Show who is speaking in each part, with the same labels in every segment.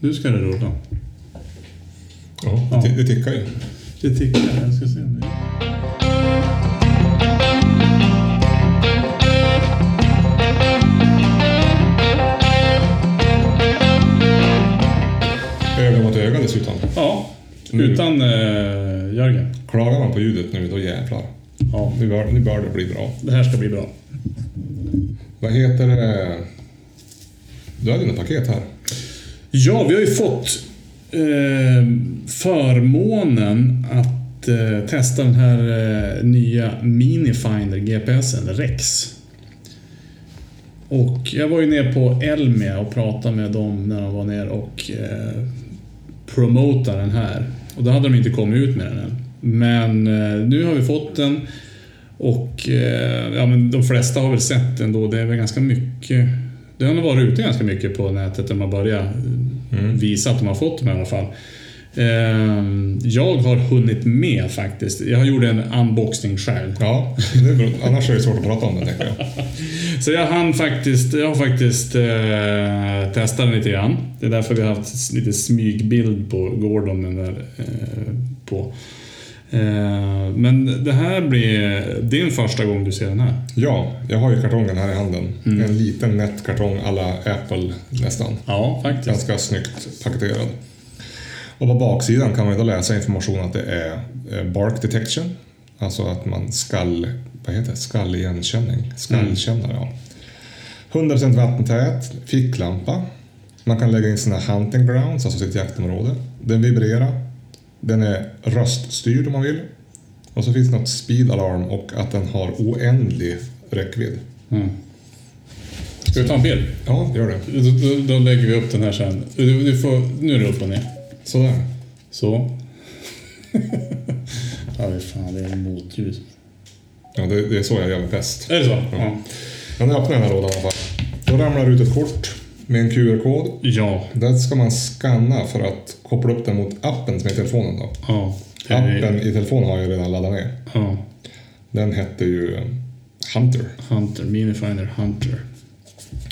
Speaker 1: Nu ska det rulla.
Speaker 2: Ja, det, det tickar ju.
Speaker 1: Det tickar. Jag ska se om det...
Speaker 2: Öga mot öga dessutom.
Speaker 1: Ja,
Speaker 2: Nu-
Speaker 1: utan eh, Jörgen.
Speaker 2: Klagar man på ljudet nu, då jävlar.
Speaker 1: Ja,
Speaker 2: Nu bör, nu bör det bli bra.
Speaker 1: det här ska bli bra.
Speaker 2: Vad heter det? Du har dina paket här.
Speaker 1: Ja, vi har ju fått eh, förmånen att eh, testa den här eh, nya Minifinder GPSen, Rex. Och jag var ju nere på Elmia och pratade med dem när de var nere och eh, promotade den här. Och då hade de inte kommit ut med den än. Men eh, nu har vi fått den och eh, ja, men de flesta har väl sett den då. Det är väl ganska mycket. Den har varit ute ganska mycket på nätet när man börjar
Speaker 2: Mm.
Speaker 1: visa att de har fått dem i alla fall. Ehm, Jag har hunnit med faktiskt. Jag gjorde en unboxing själv.
Speaker 2: Ja, det är bra. annars är det svårt att prata om det tänker jag.
Speaker 1: Så jag hann faktiskt, jag har faktiskt eh, testat den lite grann. Det är därför vi har haft s- lite smygbild på Gordon den där, eh, på. Eh, men det här blir din första gång du ser den här.
Speaker 2: Ja, jag har ju kartongen här i handen. En liten nätt kartong alla Apple nästan.
Speaker 1: Ja, faktiskt.
Speaker 2: Ganska snyggt paketerad. Och på baksidan kan man ju då läsa information att det är eh, bark detection. Alltså att man skall... Vad heter det? Skalligenkänning. Skallkännare, ja. 100% vattentät, ficklampa. Man kan lägga in sina hunting grounds, alltså sitt jaktområde. Den vibrerar. Den är röststyrd om man vill. Och så finns det något speed alarm och att den har oändlig räckvidd.
Speaker 1: Mm. Ska vi ta en bild?
Speaker 2: Ja, gör det.
Speaker 1: Då, då, då lägger vi upp den här sen. Du, du får, nu är det upp och ner.
Speaker 2: Sådär.
Speaker 1: Så. ja, det fan, det är motljus.
Speaker 2: Ja, det, det är så jag gör med bäst.
Speaker 1: Är det så? Ja.
Speaker 2: Men öppna den här lådan i alla fall. Då ramlar det ut ett kort med en QR-kod.
Speaker 1: Ja.
Speaker 2: Där ska man scanna för att koppla upp den mot appen som är i telefonen. Då.
Speaker 1: ja. Det är-
Speaker 2: Appen i telefonen har jag redan laddat ner.
Speaker 1: Ja.
Speaker 2: Den hette ju eh, Hunter.
Speaker 1: Hunter. Minifinder Hunter.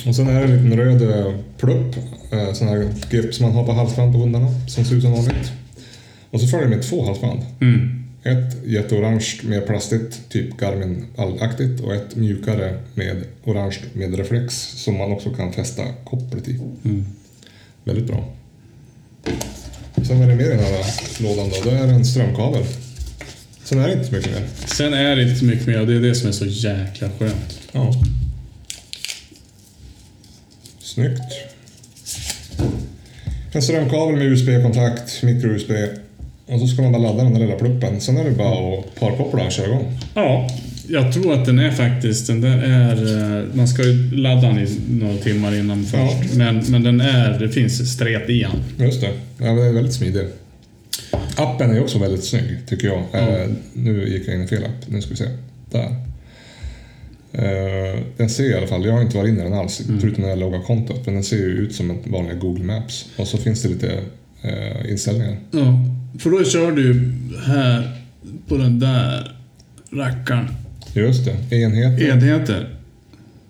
Speaker 2: Och sen är det en liten röd eh, plupp, eh, sån här grip som man har på halsband på hundarna, som ser ut som vanligt. Och så följer det med två halsband.
Speaker 1: Mm.
Speaker 2: Ett jätteorange med plastigt, typ Garmin-aktigt och ett mjukare med orange med reflex som man också kan fästa kopplet i.
Speaker 1: Mm.
Speaker 2: Väldigt bra. Sen vad är det mer i den här lådan då? Det är en strömkabel. Sen är det inte så mycket mer.
Speaker 1: Sen är det inte så mycket mer och det är det som är så jäkla skönt.
Speaker 2: Ja. Snyggt. En strömkabel med USB-kontakt, micro-USB. Och så ska man bara ladda den där lilla pluppen. Sen är det bara att parkoppla och köra igång.
Speaker 1: Ja, jag tror att den är faktiskt, den där är... eh, Man ska ju ladda den i några timmar innan först. Men, men den är, det finns stret i den.
Speaker 2: Just det. Ja, men den är väldigt smidig. Appen är också väldigt snygg, tycker jag. Eh, nu gick jag in i fel app. Nu ska vi se. Där. Eh, den ser i alla fall, jag har inte varit inne i den alls, förutom när jag loggar kontot. Men den ser ju ut som en vanlig Google Maps. Och så finns det lite eh, inställningar.
Speaker 1: Ja, för då kör du ju här på den där rackaren.
Speaker 2: Just det, enhet.
Speaker 1: Enheter.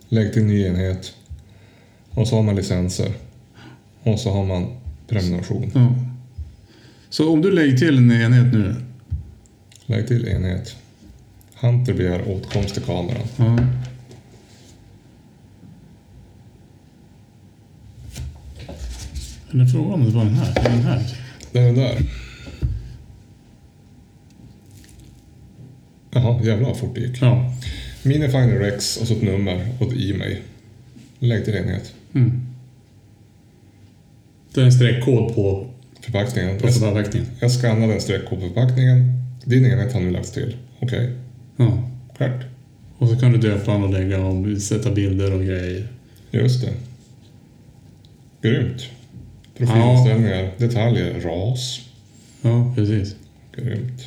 Speaker 2: Lägg till ny enhet. Och så har man licenser. Och så har man prenumeration.
Speaker 1: Ja. Så om du lägger till en enhet nu.
Speaker 2: Lägg till enhet. Hunter begär åtkomst till kameran.
Speaker 1: Ja. Eller fråga om det var den här. Den här.
Speaker 2: Det är den där. Jaha, jävlar vad fort det gick.
Speaker 1: Ja.
Speaker 2: Minifinder Rex och så ett nummer och ett e-mail. Lägg till enhet.
Speaker 1: Mm. Det är en streckkod på,
Speaker 2: Förpackningen.
Speaker 1: på förpackningen.
Speaker 2: Jag skannade en streck på förpackningen. Din enhet har nu lagts till. Okej,
Speaker 1: Ja.
Speaker 2: klart.
Speaker 1: Och så kan du döpa den och lägga om, sätta bilder och grejer.
Speaker 2: Just det. Grymt. Profilinställningar, detaljer, ras.
Speaker 1: Ja, precis.
Speaker 2: Grymt.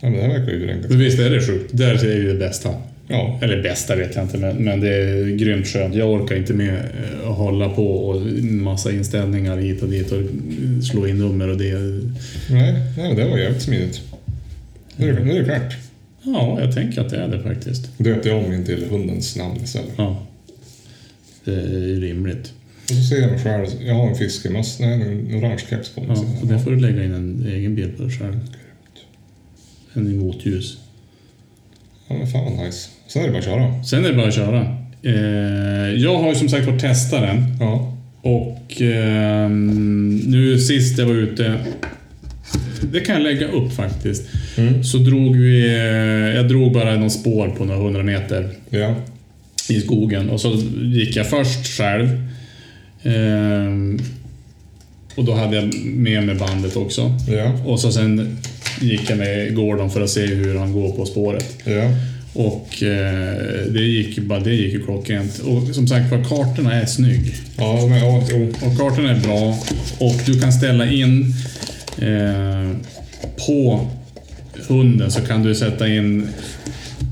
Speaker 2: Ja, men det här verkar ju enkelt.
Speaker 1: Men visst är det sjukt? Där är ju det bästa.
Speaker 2: Ja,
Speaker 1: Eller bästa vet jag inte, men, men det är grymt skönt. Jag orkar inte med eh, att hålla på och en massa inställningar hit och dit och eh, slå in nummer och det.
Speaker 2: nej, nej men det var jävligt smidigt. Nu är det, nu är det klart.
Speaker 1: Ja, jag tänker att det är det faktiskt.
Speaker 2: Döpte jag om min till hundens namn istället.
Speaker 1: Ja. Det är rimligt.
Speaker 2: Och så ser de själv, jag har en fiskemössa, nej en orange keps på mig.
Speaker 1: Ja,
Speaker 2: Så-
Speaker 1: så där får du lägga in en egen bild på dig själv. En emotljus.
Speaker 2: Ja men fan vad nice. Sen är det bara att köra.
Speaker 1: Sen är det bara att köra. Eh, jag har ju som sagt varit testaren.
Speaker 2: Ja.
Speaker 1: Och ehm, nu sist jag var ute, det kan jag lägga upp faktiskt,
Speaker 2: Mm.
Speaker 1: så drog vi, eh, jag drog bara någon spår på några hundra meter
Speaker 2: Ja.
Speaker 1: i skogen och så gick jag först själv. Ehm, och då hade jag med mig bandet också.
Speaker 2: Ja.
Speaker 1: Och så sen gick jag med Gordon för att se hur han går på spåret.
Speaker 2: Ja.
Speaker 1: Och eh, det gick ju bara, det gick ju klockrent. Och som sagt var, kartorna är snygg.
Speaker 2: Ja, men ja, jo.
Speaker 1: Och kartan är bra och du kan ställa in eh, på hunden så kan du sätta in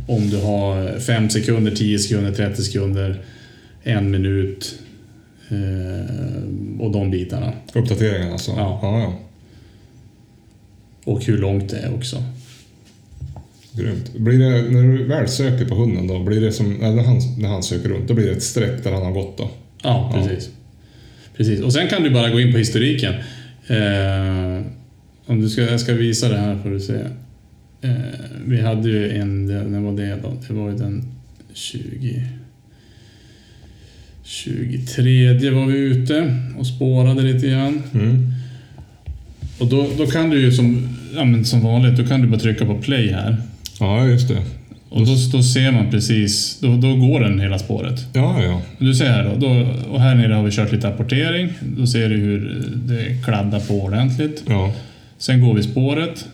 Speaker 1: om du har 5 sekunder, 10 sekunder, 30 sekunder, en minut eh, och de bitarna.
Speaker 2: Uppdateringen alltså.
Speaker 1: Ja.
Speaker 2: ja, ja.
Speaker 1: Och hur långt det är också.
Speaker 2: Grymt. Blir det, när du väl söker på hunden då, blir det som, eller han, när han söker runt, då blir det ett streck där han har gått då?
Speaker 1: Ja,
Speaker 2: Ja.
Speaker 1: precis. precis. Och sen kan du bara gå in på historiken. Eh, om du ska, jag ska visa det här får du se. Eh, vi hade ju en, det- när var det då? Det var ju den 20... 23 var vi ute och spårade lite grann.
Speaker 2: Mm.
Speaker 1: Och då, då kan du ju som, ja, men som vanligt, då kan du bara trycka på play här.
Speaker 2: Ja, just det.
Speaker 1: Och då, då ser man precis, då, då går den hela spåret.
Speaker 2: Ja, ja.
Speaker 1: Du ser här då, då, och här nere har vi kört lite apportering. Då ser du hur eh, det kladdar på ordentligt.
Speaker 2: Ja,
Speaker 1: Sen går vi spåret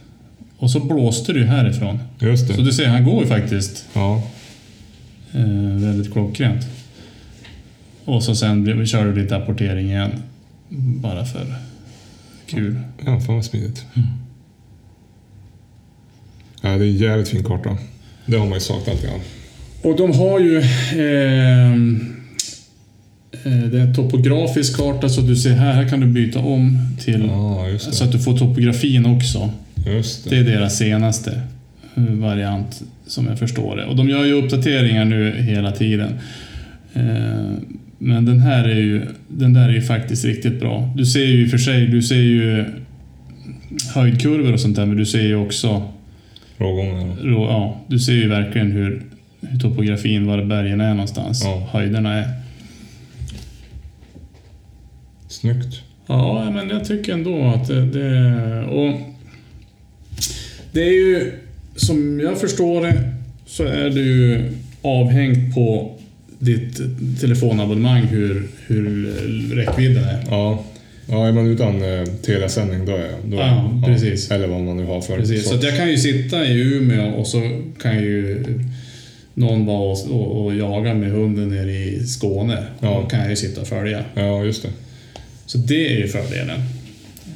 Speaker 1: och så blåste du härifrån.
Speaker 2: just
Speaker 1: Så
Speaker 2: det.
Speaker 1: du ser, han går ju faktiskt
Speaker 2: Ja,
Speaker 1: eh, väldigt klockrent. Och så sen blir- vi kör du lite apportering igen. Bara för kul.
Speaker 2: ja fan vad smidigt.
Speaker 1: Mm.
Speaker 2: Ja, det är en jävligt fin karta. Det har man ju saknat lite grann.
Speaker 1: Och de har ju... Eh, eh, det är en topografisk karta så du ser här, här kan du byta om till...
Speaker 2: Ja, just
Speaker 1: Så
Speaker 2: det.
Speaker 1: att du får topografin också.
Speaker 2: Just
Speaker 1: Det
Speaker 2: det.
Speaker 1: är deras senaste eh, variant som jag förstår det. Och de gör ju uppdateringar nu hela tiden. Eh, Men den här är ju, den där är ju faktiskt riktigt bra. Du ser ju i och för sig, du ser ju höjdkurvor och sånt där, men du ser ju också,
Speaker 2: Rågången.
Speaker 1: rå- ja, du ser ju verkligen hur, hur topografin, var bergen är någonstans,
Speaker 2: Ja.
Speaker 1: höjderna är.
Speaker 2: Snyggt.
Speaker 1: Ja, men jag tycker ändå att det... det och det är ju, som jag förstår det, så är det ju avhängt på ditt telefonabonnemang hur, hur räckvidden är.
Speaker 2: Ja. Ja, är man utan eh, telesändning då är då,
Speaker 1: Ja, precis.
Speaker 2: Eller vad man nu har för
Speaker 1: Precis, så att
Speaker 2: sorts-
Speaker 1: jag kan ju sitta i Umeå och så kan ju någon vara och, och, och jaga med hunden nere i Skåne.
Speaker 2: Ja.
Speaker 1: Då kan jag ju sitta och följa.
Speaker 2: Ja, just det.
Speaker 1: Så det är ju fördelen.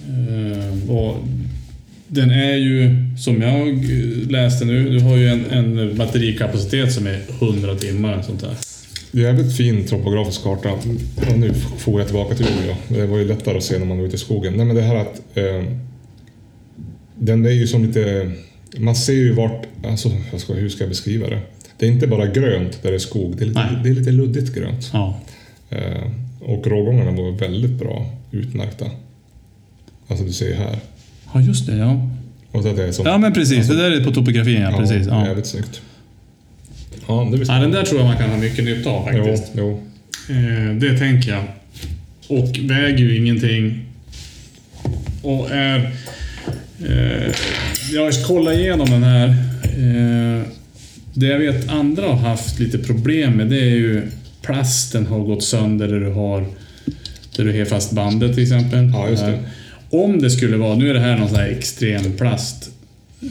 Speaker 1: Eh, Och den är ju, som jag eh, läste nu, du har ju en, en batterikapacitet som är 100 timmar. och Sånt där.
Speaker 2: Jävligt fin topografisk karta. Och nu får jag tillbaka till Umeå. Det var ju lättare att se när man var ute i skogen. Nej, men det här att... Eh, den är ju som lite... Man ser ju vart... Alltså, jag ska, hur ska jag beskriva det? Det är inte bara grönt där det är skog. Det är lite,
Speaker 1: Nej.
Speaker 2: det är lite luddigt grönt.
Speaker 1: Ja.
Speaker 2: Eh, och rågångarna var väldigt bra utmärkta. Alltså, du ser ju här.
Speaker 1: ja, just det. Ja,
Speaker 2: Och att det är som...
Speaker 1: ja men precis. Det där är på topografin, ja. Precis, ja.
Speaker 2: Jävligt snyggt. Ja, det blir
Speaker 1: Ja, den där tror jag man kan ha mycket nytta av
Speaker 2: Jo,
Speaker 1: faktiskt.
Speaker 2: jo.
Speaker 1: Eh, Det tänker jag. Och väger ju ingenting. Och är... Eh, jag ska kolla igenom den här. Eh, det jag vet andra har haft lite problem med det är ju plasten har gått sönder där du har där du har fast bandet till exempel.
Speaker 2: Ja, just det.
Speaker 1: Eh, Om det skulle vara, nu är det här någon sån här extrem plast.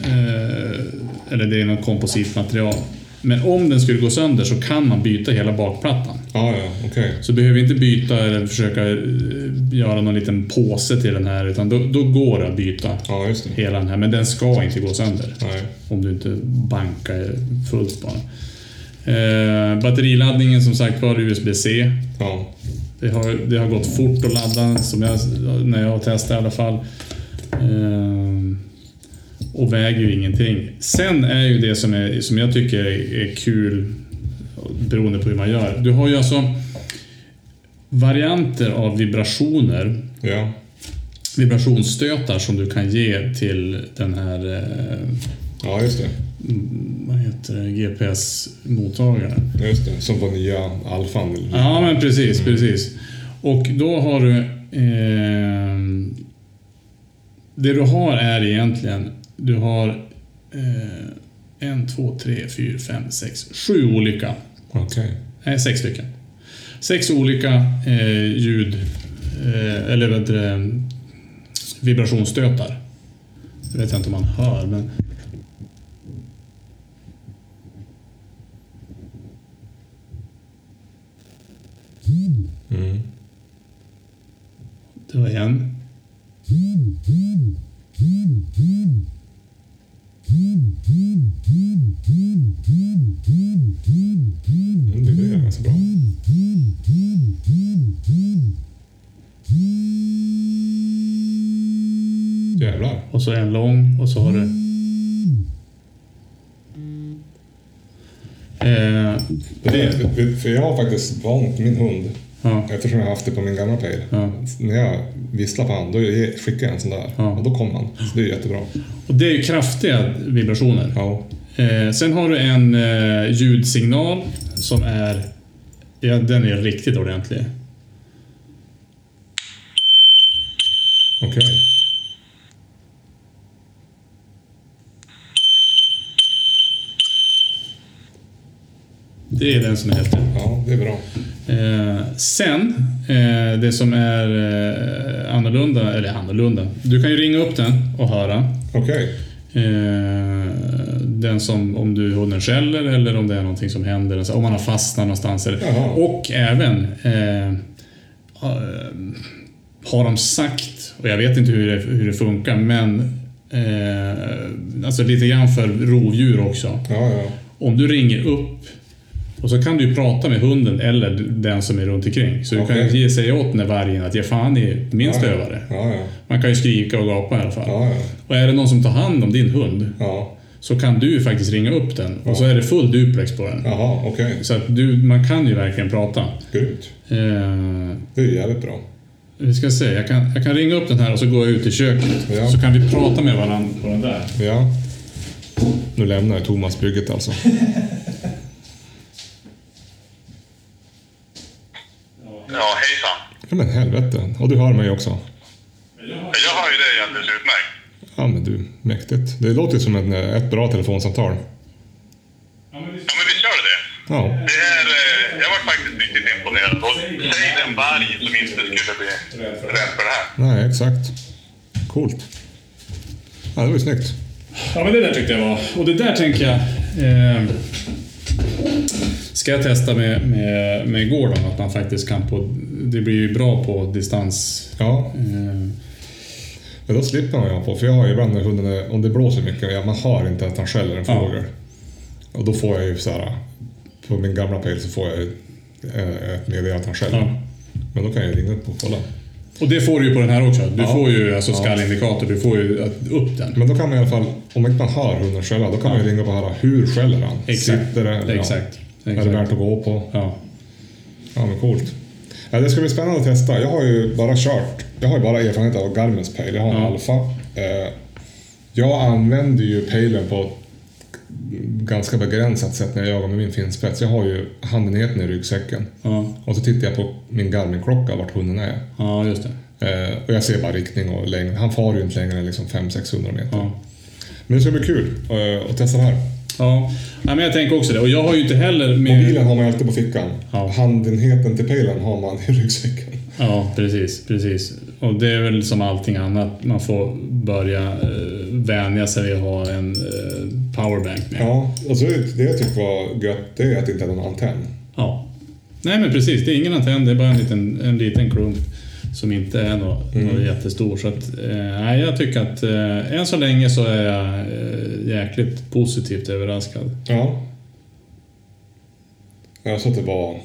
Speaker 1: Eh, eller det är något kompositmaterial. Men om den skulle gå sönder så kan man byta hela bakplattan.
Speaker 2: Ja, ja, okej.
Speaker 1: Så behöver vi inte byta eller försöka eh, göra någon liten påse till den här, utan då, då går det att byta
Speaker 2: Ja, just det.
Speaker 1: hela den här. Men den ska inte gå sönder.
Speaker 2: Nej.
Speaker 1: Om du inte bankar fullt bara. Eh, batteriladdningen som sagt var USB-C.
Speaker 2: Ja.
Speaker 1: Det har, det har gått fort att ladda, som jag, när jag har testat i alla fall. Ehm, och väger ju ingenting. Sen är ju det som, är, som jag tycker är, är kul, beroende på hur man gör. Du har ju alltså varianter av vibrationer,
Speaker 2: Ja.
Speaker 1: vibrationsstötar som du kan ge till den här eh,
Speaker 2: ja, just det.
Speaker 1: vad heter det, GPS-mottagaren.
Speaker 2: Just det. Som på nya alfan. Mm. eller-
Speaker 1: Ja, men precis, precis. Och då har du... ehm, det du har är egentligen, du har eh, en, två, tre, fyra, fem, sex, sju olika.
Speaker 2: Okej.
Speaker 1: Nej, sex stycken. Sex olika eh, ljud, eh, eller vad heter det, vibrationsstötar. Det vet jag inte om man hör, men...
Speaker 2: Mm.
Speaker 1: Det var en.
Speaker 2: Mm, det blir ganska bra. Jävlar.
Speaker 1: Och så en lång och så har du... Eh, det,
Speaker 2: Det, det, för jag har faktiskt vant min hund,
Speaker 1: ja,
Speaker 2: eftersom jag har haft det på min gamla pejl.
Speaker 1: ja.
Speaker 2: När jag visslar på honom, då ge- skickar jag en sån där.
Speaker 1: Ja.
Speaker 2: Och då kommer han. Så det är jättebra.
Speaker 1: Och det är ju kraftiga vibrationer.
Speaker 2: Ja.
Speaker 1: Eh, sen har du en eh, ljudsignal som är... Ja, den är riktigt ordentlig.
Speaker 2: Okej.
Speaker 1: Det är den som är häftig.
Speaker 2: Ja, det är bra.
Speaker 1: Eh, sen, eh, det som är eh, annorlunda, eller annorlunda. Du kan ju ringa upp den och höra.
Speaker 2: Okej.
Speaker 1: Eh, den som, om du hunden skäller eller om det är någonting som händer. Alltså, om man har fastnat någonstans. Eller,
Speaker 2: Jaha.
Speaker 1: och även eh, har- har de sagt, och jag vet inte hur det, hur det funkar, men eh, alltså lite grann för rovdjur också.
Speaker 2: Ja, ja.
Speaker 1: Om du ringer upp och så kan du ju prata med hunden eller den som är runt omkring. Så du kan
Speaker 2: Okej.
Speaker 1: ge sig åt när vargen att ge fan i min stövare.
Speaker 2: Ja, ja.
Speaker 1: Man kan ju skrika och gapa i alla fall.
Speaker 2: Ja, ja.
Speaker 1: Och är det någon som tar hand om din hund
Speaker 2: ja.
Speaker 1: så kan du ju faktiskt ringa upp den och så är det full duplex på den.
Speaker 2: Jaha, okej.
Speaker 1: Så att du, man kan ju verkligen prata.
Speaker 2: Grymt.
Speaker 1: Eh,
Speaker 2: Det är jävligt bra.
Speaker 1: vi ska se, jag kan, jag kan ringa upp den här och så går jag ut i köket.
Speaker 2: Ja.
Speaker 1: Så kan vi prata med varandra på den där.
Speaker 2: Ja. Nu lämnar jag Thomas bygget alltså.
Speaker 3: Ja, hejsan.
Speaker 2: Ja, men helvete. Och du hör mig också.
Speaker 3: Jag hör ju dig alldeles utmärkt.
Speaker 2: Ja, men du. Mäktigt. Det låter ju som en, eh, ett bra telefonsamtal.
Speaker 3: Ja, men vi kör det.
Speaker 2: Ja.
Speaker 3: det är, eh, jag var faktiskt riktigt imponerad. Och säg den varg som inte skulle bli rädd för det här.
Speaker 2: Nej, exakt. Coolt. Ja, det var ju snyggt.
Speaker 1: Ja, men det där tyckte jag var... Och det där tänker jag... Eh, ska jag testa med, med, med Gordon att man faktiskt kan på... Det blir ju bra på distans...
Speaker 2: Ja,
Speaker 1: Eh,
Speaker 2: men då slipper man ju ha på. För jag har ju ibland när hunden är, om det blåser mycket och jag- man hör inte att han skäller en
Speaker 1: Ja.
Speaker 2: fågel. Och då får jag ju så här. På min gamla pejl så får jag ju eh, ett meddelande att han skäller.
Speaker 1: ja.
Speaker 2: Men då kan jag ju ringa upp och kolla.
Speaker 1: Och det får du ju på den här också. Du
Speaker 2: Ja.
Speaker 1: får ju alltså
Speaker 2: Ja.
Speaker 1: skallindikator, du får ju att- upp den.
Speaker 2: Men då kan man i alla fall, om inte man hör hunden skälla, då kan man ju ringa upp och höra hur skäller han? Sitter det? Eller ja.
Speaker 1: Exakt.
Speaker 2: Är det
Speaker 1: Exakt.
Speaker 2: värt att gå på?
Speaker 1: Ja.
Speaker 2: Ja, men coolt. Ja, det ska bli spännande att testa. Jag har ju bara kört. Jag har ju bara erfarenhet av Garmins Pale. Jag har en
Speaker 1: Ja.
Speaker 2: Alfa. Eh, Jag använder ju Palen på ett ganska begränsat sätt när jag jagar med min finspets. Jag har ju handen helt ner i ryggsäcken.
Speaker 1: Ja.
Speaker 2: Och så tittar jag på min Garmin-klocka, vart hunden är.
Speaker 1: ja, just det.
Speaker 2: Eh, Och jag ser bara riktning och längd. Han far ju inte längre än liksom 500-600 meter.
Speaker 1: Ja.
Speaker 2: Men det ska bli kul eh, att testa det här.
Speaker 1: Ja. Nej, men jag tänker också det. Och jag har ju inte heller med...
Speaker 2: Mobilen har man ju alltid på fickan.
Speaker 1: Ja.
Speaker 2: Handenheten till pejlen har man i ryggsäcken.
Speaker 1: Ja, precis, precis. Och det är väl som allting annat. Man får börja eh, vänja sig vid att ha en eh, powerbank med.
Speaker 2: Ja, alltså det jag tyckte var gött, det är att det inte är någon antenn.
Speaker 1: Ja. Nej men precis, det är ingen antenn, det är bara en liten, en liten klump som inte är något, något jättestor. Så att, eh, nej, jag tycker att eh, än så länge så är jag eh, jäkligt positivt överraskad.
Speaker 2: Ja. Jag sa att det var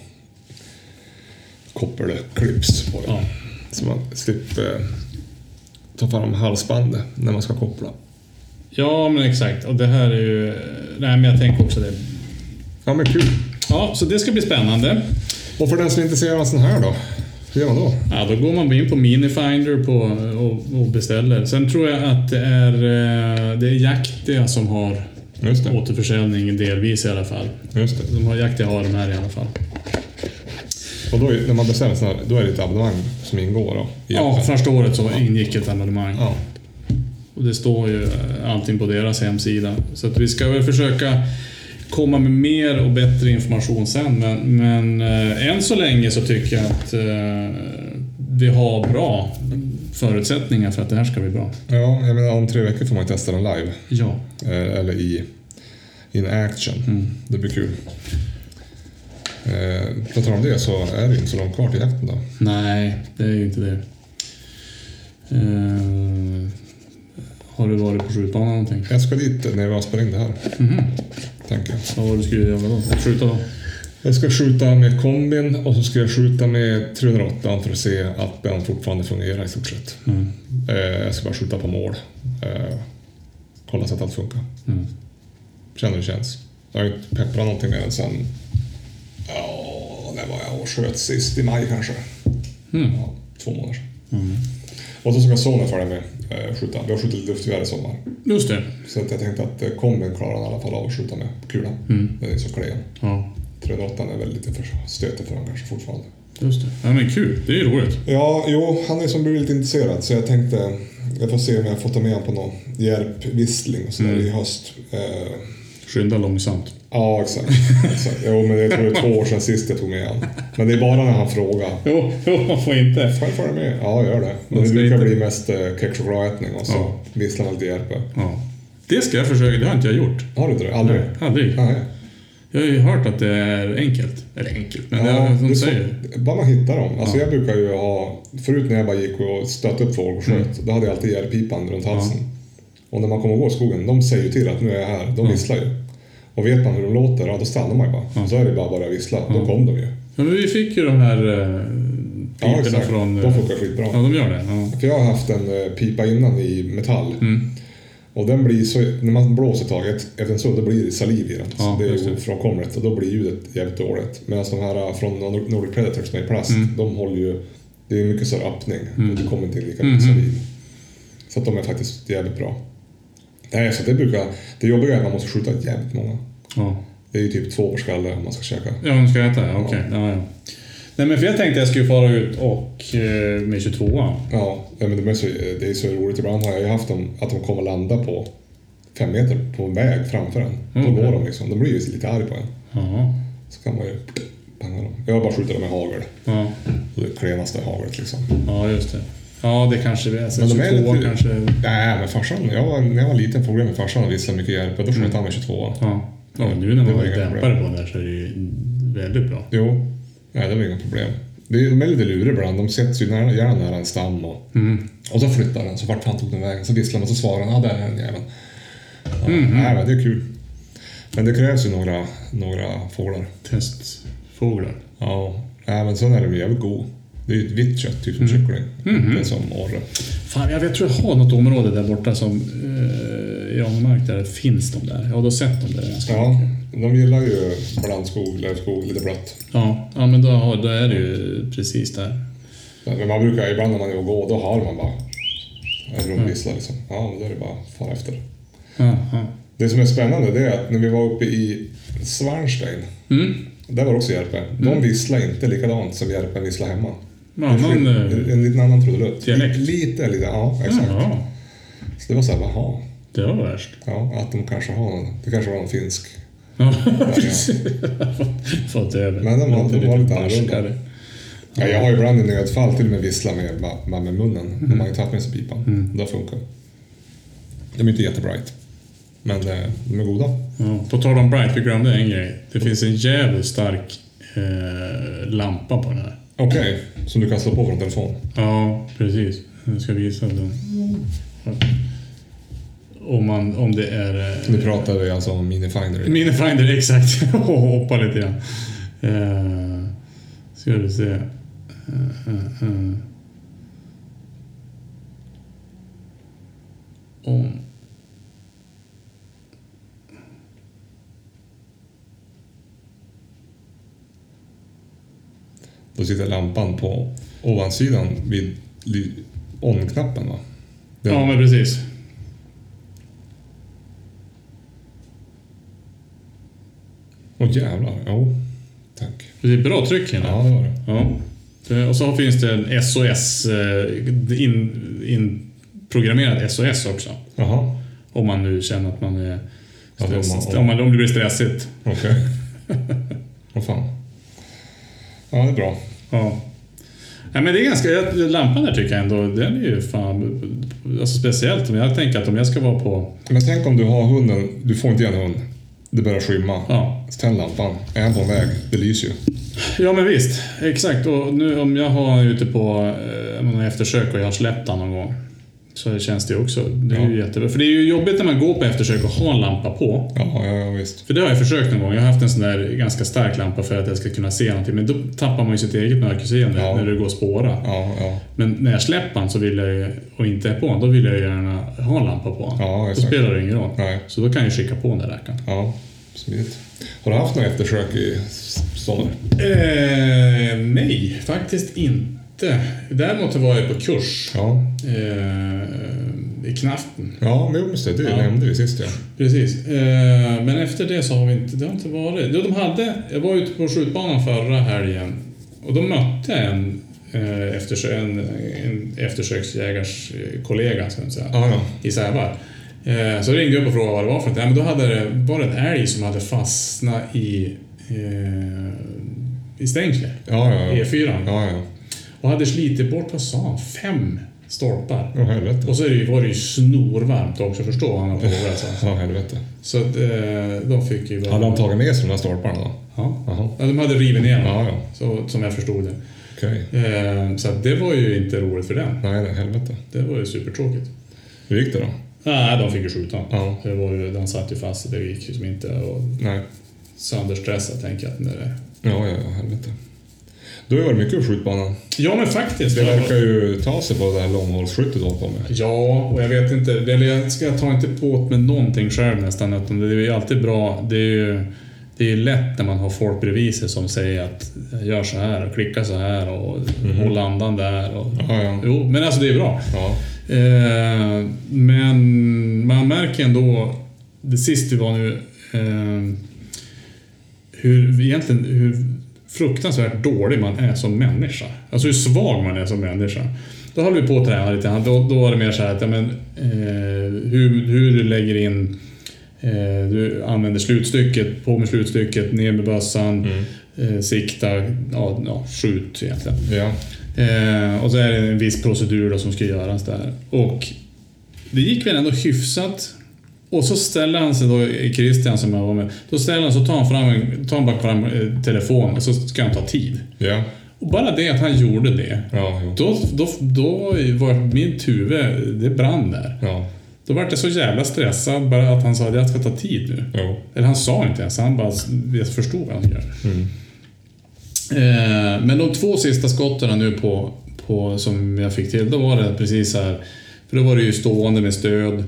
Speaker 2: koppelklips på den.
Speaker 1: Ja.
Speaker 2: Så man slipper eh, ta fram halsbandet när man ska koppla.
Speaker 1: ja, men exakt. Och det här är ju... Nej, men jag tänker också det.
Speaker 2: Ja men kul.
Speaker 1: Ja, så det ska bli spännande.
Speaker 2: Och för den som är intresserad av en sån här då? Hur gör man då?
Speaker 1: Ja, då går man in på Minifinder på, och, och beställer. Sen tror jag att det är, eh, det är Jaktia som har
Speaker 2: Just det.
Speaker 1: återförsäljning delvis i alla fall.
Speaker 2: Just det.
Speaker 1: De har Jaktia har de här i alla fall.
Speaker 2: Och då, är- när man beställer sådana här, då är det ett abonnemang som ingår då? i
Speaker 1: Ja,
Speaker 2: appen.
Speaker 1: första året så ingick ett abonnemang.
Speaker 2: ja.
Speaker 1: Och det står ju eh, allting på deras hemsida. Så att vi ska väl försöka komma med mer och bättre information sen. Men, men eh, än så länge så tycker jag att eh, vi har bra förutsättningar för att det här ska bli bra.
Speaker 2: ja, jag menar om tre veckor får man ju testa den live.
Speaker 1: Ja.
Speaker 2: Eh, eller i in action.
Speaker 1: Mm.
Speaker 2: Det blir kul. Eh, på tal om det så är det ju inte så långt kvar till jakten då.
Speaker 1: Nej, det är ju inte det. Eh, har du varit på skjutbanan någonting?
Speaker 2: Jag ska dit när jag spelade in det här. Tänker jag.
Speaker 1: Vad var det du skulle göra då? Skjuta då?
Speaker 2: Jag ska skjuta med kombin och så ska jag skjuta med 308 för att se att den fortfarande fungerar i stort sett.
Speaker 1: Mm.
Speaker 2: Eh, jag ska bara skjuta på mål. Eh, kolla så att allt funkar.
Speaker 1: Mm.
Speaker 2: Känner hur det känns. Jag har ju inte pepprat någonting med den sen... Ja, när var jag och sköt sist? I maj kanske?
Speaker 1: Mm.
Speaker 2: Ja, två månader sedan.
Speaker 1: Mm.
Speaker 2: Och så ska sonen följa med eh, skjuta. Vi har skjutit lite luftgevär i sommar.
Speaker 1: Just det.
Speaker 2: Så att jag tänkte att eh, kombin klarar han i alla fall av att skjuta med kulan.
Speaker 1: Mm.
Speaker 2: Den är så klen.
Speaker 1: Ja,
Speaker 2: 308 är väl lite för stötig för honom kanske fortfarande.
Speaker 1: just det. Ja, men kul. Det är ju roligt.
Speaker 2: Ja, jo, han är som blivit lite intresserad så jag tänkte jag får se om jag får ta med honom på någon hjälpvissling och sådär
Speaker 1: Mm.
Speaker 2: i höst. Eh,
Speaker 1: Skynda långsamt.
Speaker 2: ja, exakt. exakt. Jo, men jag tror det är två år sedan sist jag tog med honom. Men det är bara när han frågar.
Speaker 1: Jo, jo man får inte.
Speaker 2: Får jag följa med? Ja, gör det. Men
Speaker 1: Man
Speaker 2: det
Speaker 1: ska
Speaker 2: brukar
Speaker 1: inte-
Speaker 2: bli mest eh, kexchokladätning och så
Speaker 1: Ja.
Speaker 2: visslar man lite hjälp.
Speaker 1: Ja. Det ska jag försöka, det har inte jag gjort.
Speaker 2: Har du inte det? Aldrig?
Speaker 1: Aldrig.
Speaker 2: Nej.
Speaker 1: Jag har ju hört att det är enkelt. Eller enkelt, men det är, som
Speaker 2: det
Speaker 1: de
Speaker 2: är
Speaker 1: säger.
Speaker 2: Så, bara man hittar dem. Alltså
Speaker 1: Ja.
Speaker 2: jag brukar ju ha, förut när jag bara gick och stötte upp folk och sköt,
Speaker 1: Mm.
Speaker 2: då hade jag alltid järpipan runt halsen. Och när man kommer och går i skogen, de säger ju till att nu är jag här, de visslar ju. Och vet man hur de låter, ja, då stannar man ju bara. Så är det bara att börja vissla, då kom de ju.
Speaker 1: Ja, men vi fick ju de här eh,
Speaker 2: Ja,
Speaker 1: piporna
Speaker 2: exakt.
Speaker 1: från... eh,
Speaker 2: De funkar skitbra.
Speaker 1: Ja, de gör det. Ja. Mm.
Speaker 2: För jag har haft en eh, pipa innan i metall. Och den blir så, när man blåser taget, efter en stund, då blir det saliv i den.
Speaker 1: Ja,
Speaker 2: så det är
Speaker 1: just
Speaker 2: ju
Speaker 1: det.
Speaker 2: ofrånkomligt och då blir ljudet jävligt dåligt. Medan de här eh, från Nor- Nordic Predator som är i plast,
Speaker 1: Mm.
Speaker 2: de håller ju... Det är mycket större öppning och det kommer inte in lika
Speaker 1: Mm-hmm.
Speaker 2: mycket saliv. Så att de är faktiskt jävligt bra. Nej, så det brukar... Det jobbiga är att man måste skjuta jävligt många.
Speaker 1: Ja.
Speaker 2: Det är ju typ två per skalle om man ska käka.
Speaker 1: Ja, de ska äta, ja, okej. Ja, ja. Nej, men för jag tänkte jag skulle fara ut och eh, med 22
Speaker 2: Ja, ja, men de är så, det är så roligt. Ibland har jag ju haft dem, att de kommer landa på fem meter på en väg framför en. Då
Speaker 1: Mm.
Speaker 2: går de liksom. De blir ju lite arga på en.
Speaker 1: Ja.
Speaker 2: Så kan man ju panga dem. Jag har bara skjutit dem med hagel.
Speaker 1: Ja,
Speaker 2: Det klenaste haglet liksom.
Speaker 1: ja just det. Ja, det kanske vi är. Så
Speaker 2: Men de är
Speaker 1: 22
Speaker 2: lite-
Speaker 1: kanske.
Speaker 2: Nej, Äh, men farsan. Jag var, när jag var liten foglade jag med farsan och visslade mycket hjälp. Då sköt han med 22
Speaker 1: Ja. ja, nu när
Speaker 2: Det
Speaker 1: man
Speaker 2: var
Speaker 1: har
Speaker 2: inga
Speaker 1: dämpare
Speaker 2: problem.
Speaker 1: på den där så är det ju väldigt bra.
Speaker 2: Jo, nej, det var inga problem. Det är- De är lite luriga ibland. De sätts ju nära, gärna nära en stam och, och så flyttar den. Så vart fan tog den vägen? Så visslar man så svarar den. Ja, där är den jäveln. Ja, Nej, men det är kul. Men det krävs ju några, några fåglar.
Speaker 1: Testfåglar.
Speaker 2: Ja, nej, men sen är de jävligt god. Det är ju ett vitt kött, typ som kyckling. Det är som orre.
Speaker 1: Fan, jag, jag tror jag har något område där borta som eh, i Ångermark där finns de där. Jag har då sett dem där ganska
Speaker 2: Ja,
Speaker 1: mycket.
Speaker 2: de gillar ju blandskog, lövskog, lite blött.
Speaker 1: Ja, ja men då, har, då är det ju precis där.
Speaker 2: Men man brukar ibland när man är och går, då har man bara... Eller de visslar liksom. Ja, men då är det bara att fara efter.
Speaker 1: Ja, ja.
Speaker 2: Det som är spännande det är att när vi var uppe i Svarnstein,
Speaker 1: Mm.
Speaker 2: där var det också Järpe. De visslar inte likadant som Järpen visslar hemma.
Speaker 1: Ja, eh, man,
Speaker 2: en, en liten annan trudelutt.
Speaker 1: dialekt. Mm.
Speaker 2: Lite, lite, ja exakt.
Speaker 1: ja,
Speaker 2: Så det var såhär, jaha.
Speaker 1: det var värst.
Speaker 2: Ja, att de kanske har någon, det kanske var någon finsk.
Speaker 1: Ja, precis. Fått över.
Speaker 2: Men de var-
Speaker 1: Låter
Speaker 2: de var lite
Speaker 1: barskare.
Speaker 2: annorlunda. Ja, jag har ju ibland i nödfall till och med visslat med, bara- bara med munnen. När man inte haft med sig pipan. Det har funkat. De är inte jättebright. Men eh, de är goda.
Speaker 1: Ja, på tal om Bright, vi glömde en grej. Det finns en jävligt stark eh, lampa på den här.
Speaker 2: Okej, som du kan slå på från telefon.
Speaker 1: Ja, precis. Jag ska visa den.
Speaker 2: Mm.
Speaker 1: Om, man, om det är... eh,
Speaker 2: Nu pratar vi alltså om Minifinder.
Speaker 1: Minifinder, exakt. Och hoppa lite grann. Uh, ska vi se. Eh, eh, eh. Om...
Speaker 2: Då så sitter lampan på ovansidan vid li- on-knappen va? Den-
Speaker 1: Ja, men precis.
Speaker 2: Åh jävlar, jo. Tack.
Speaker 1: Det är bra tryck i den här.
Speaker 2: Ja, det var det.
Speaker 1: Ja. Det- Och så finns det en SOS, eh, in- inprogrammerad SOS också.
Speaker 2: Jaha,
Speaker 1: Om man nu känner att man är
Speaker 2: Ja, det är om man-
Speaker 1: stressad. om, man, om det blir stressigt.
Speaker 2: okej. Vad fan. Ja, det är bra.
Speaker 1: Ja. Nej, men det är ganska, jag- lampan där tycker jag ändå, den är ju fan... Alltså speciellt, men jag tänker att om jag ska vara på...
Speaker 2: Men tänk om du har hunden, du får inte igen hund. Det börjar skymma.
Speaker 1: Ja,
Speaker 2: Tänd lampan. Är han på en väg? Det lyser ju.
Speaker 1: ja men visst. Exakt. Och nu om jag har ute på eh, någon eftersök och jag har släppt han någon gång. Så känns det också. Det är ju jättebra. För det är ju jobbigt när man går på eftersök och har en lampa på.
Speaker 2: Ja, ja, ja visst.
Speaker 1: För det har jag försökt någon gång. Jag har haft en sån där ganska stark lampa för att jag ska kunna se någonting. Men då tappar man ju sitt eget mörkerseende
Speaker 2: Ja.
Speaker 1: när det går att spåra.
Speaker 2: Ja, ja.
Speaker 1: Men när jag släpper den så vill jag ju, och inte är på den, då vill jag ju gärna ha en lampa på den.
Speaker 2: Ja,
Speaker 1: då
Speaker 2: exakt.
Speaker 1: spelar det ingen roll.
Speaker 2: Nej.
Speaker 1: Så då kan jag ju skicka på den där rackaren.
Speaker 2: Ja, smidigt. Har du haft några eftersök i staden?
Speaker 1: Eh, nej, faktiskt inte. Däremot var jag på kurs
Speaker 2: Ja.
Speaker 1: eh, i Knaften.
Speaker 2: Ja, men just det. Det
Speaker 1: Ja.
Speaker 2: nämnde vi sist ja.
Speaker 1: Precis. Eh, Men efter det så har vi inte... Det har inte varit... Jo, de hade... Jag var ute på skjutbanan förra helgen och då mötte jag en, eh, eftersö, en, en eftersöksjägars eh, kollega, ska man säga,
Speaker 2: Ja, ja.
Speaker 1: i Sävar. Eh, Så ringde jag upp och frågade vad det var för något. Nej, men då hade det, var det en älg som hade fastnat i, eh, i stängslet,
Speaker 2: Ja, ja, ja.
Speaker 1: E4.
Speaker 2: Ja, ja.
Speaker 1: Och hade slitit bort, vad sa han, fem stolpar.
Speaker 2: Åh, helvete.
Speaker 1: Och så är det ju- var det ju snorvarmt också, förstå vad han har plågats alltså.
Speaker 2: Ja, helvete.
Speaker 1: Så att, eh, de fick ju...
Speaker 2: Hade han tagit med sig de där stolparna då?
Speaker 1: Ja.
Speaker 2: Jaha.
Speaker 1: ja, de hade rivit ner den,
Speaker 2: Ja, ja.
Speaker 1: så, som jag förstod det.
Speaker 2: Okej.
Speaker 1: Eh, så att det var ju inte roligt för den.
Speaker 2: Nej, det helvete.
Speaker 1: Det var ju supertråkigt.
Speaker 2: Hur gick det då?
Speaker 1: Nej, de fick ju skjuta honom.
Speaker 2: Ja.
Speaker 1: Det var ju, den satt ju fast, det gick ju som inte. Och
Speaker 2: Nej.
Speaker 1: sönderstressad tänker jag att när det...
Speaker 2: Ja, ja, ja, helvete. Du har ju varit mycket på skjutbanan.
Speaker 1: Ja, men faktiskt.
Speaker 2: Det
Speaker 1: jag-
Speaker 2: verkar ju ta sig på det här långhållsskyttet du håller på med.
Speaker 1: Ja, och jag vet inte. Eller jag ska ta inte på åt med någonting själv nästan. Utan det är ju alltid bra. Det är ju det är ju lätt när man har folk bredvid sig som säger att gör så här och klicka så här och håll andan där. Och,
Speaker 2: Ja, ja.
Speaker 1: Jo, men alltså det är bra.
Speaker 2: Ja,
Speaker 1: Eh, men man märker ändå, det sist vi var nu, eh, hur, egentligen, hur fruktansvärt dålig man är som människa. Alltså hur svag man är som människa. Då höll vi på att träna lite grann. Då, då var det mer så här att ja, men, eh, hur, hur du lägger in Eh, Du använder slutstycket, på med slutstycket, ner med bössan, eh, sikta, ja, ja, skjut egentligen.
Speaker 2: ja.
Speaker 1: Eh, och så är det en viss procedur då som ska göras där. Och det gick väl ändå hyfsat. Och så ställer han sig då, Christian som jag var med, då ställer han sig och tar han, fram, en- tar han bara fram eh, telefonen och så ska han ta tid.
Speaker 2: ja.
Speaker 1: Och bara det att han gjorde det,
Speaker 2: ja jo.
Speaker 1: då, då, då var mitt huvud, det brann där.
Speaker 2: Ja,
Speaker 1: Då var jag så jävla stressad bara att han sa att jag ska ta tid nu.
Speaker 2: jo.
Speaker 1: Eller han sa inte ens, han bara jag förstod vad han gör. Eh, men de två sista skotten nu på, på, som jag fick till, då var det precis så här. För då var det ju stående med stöd.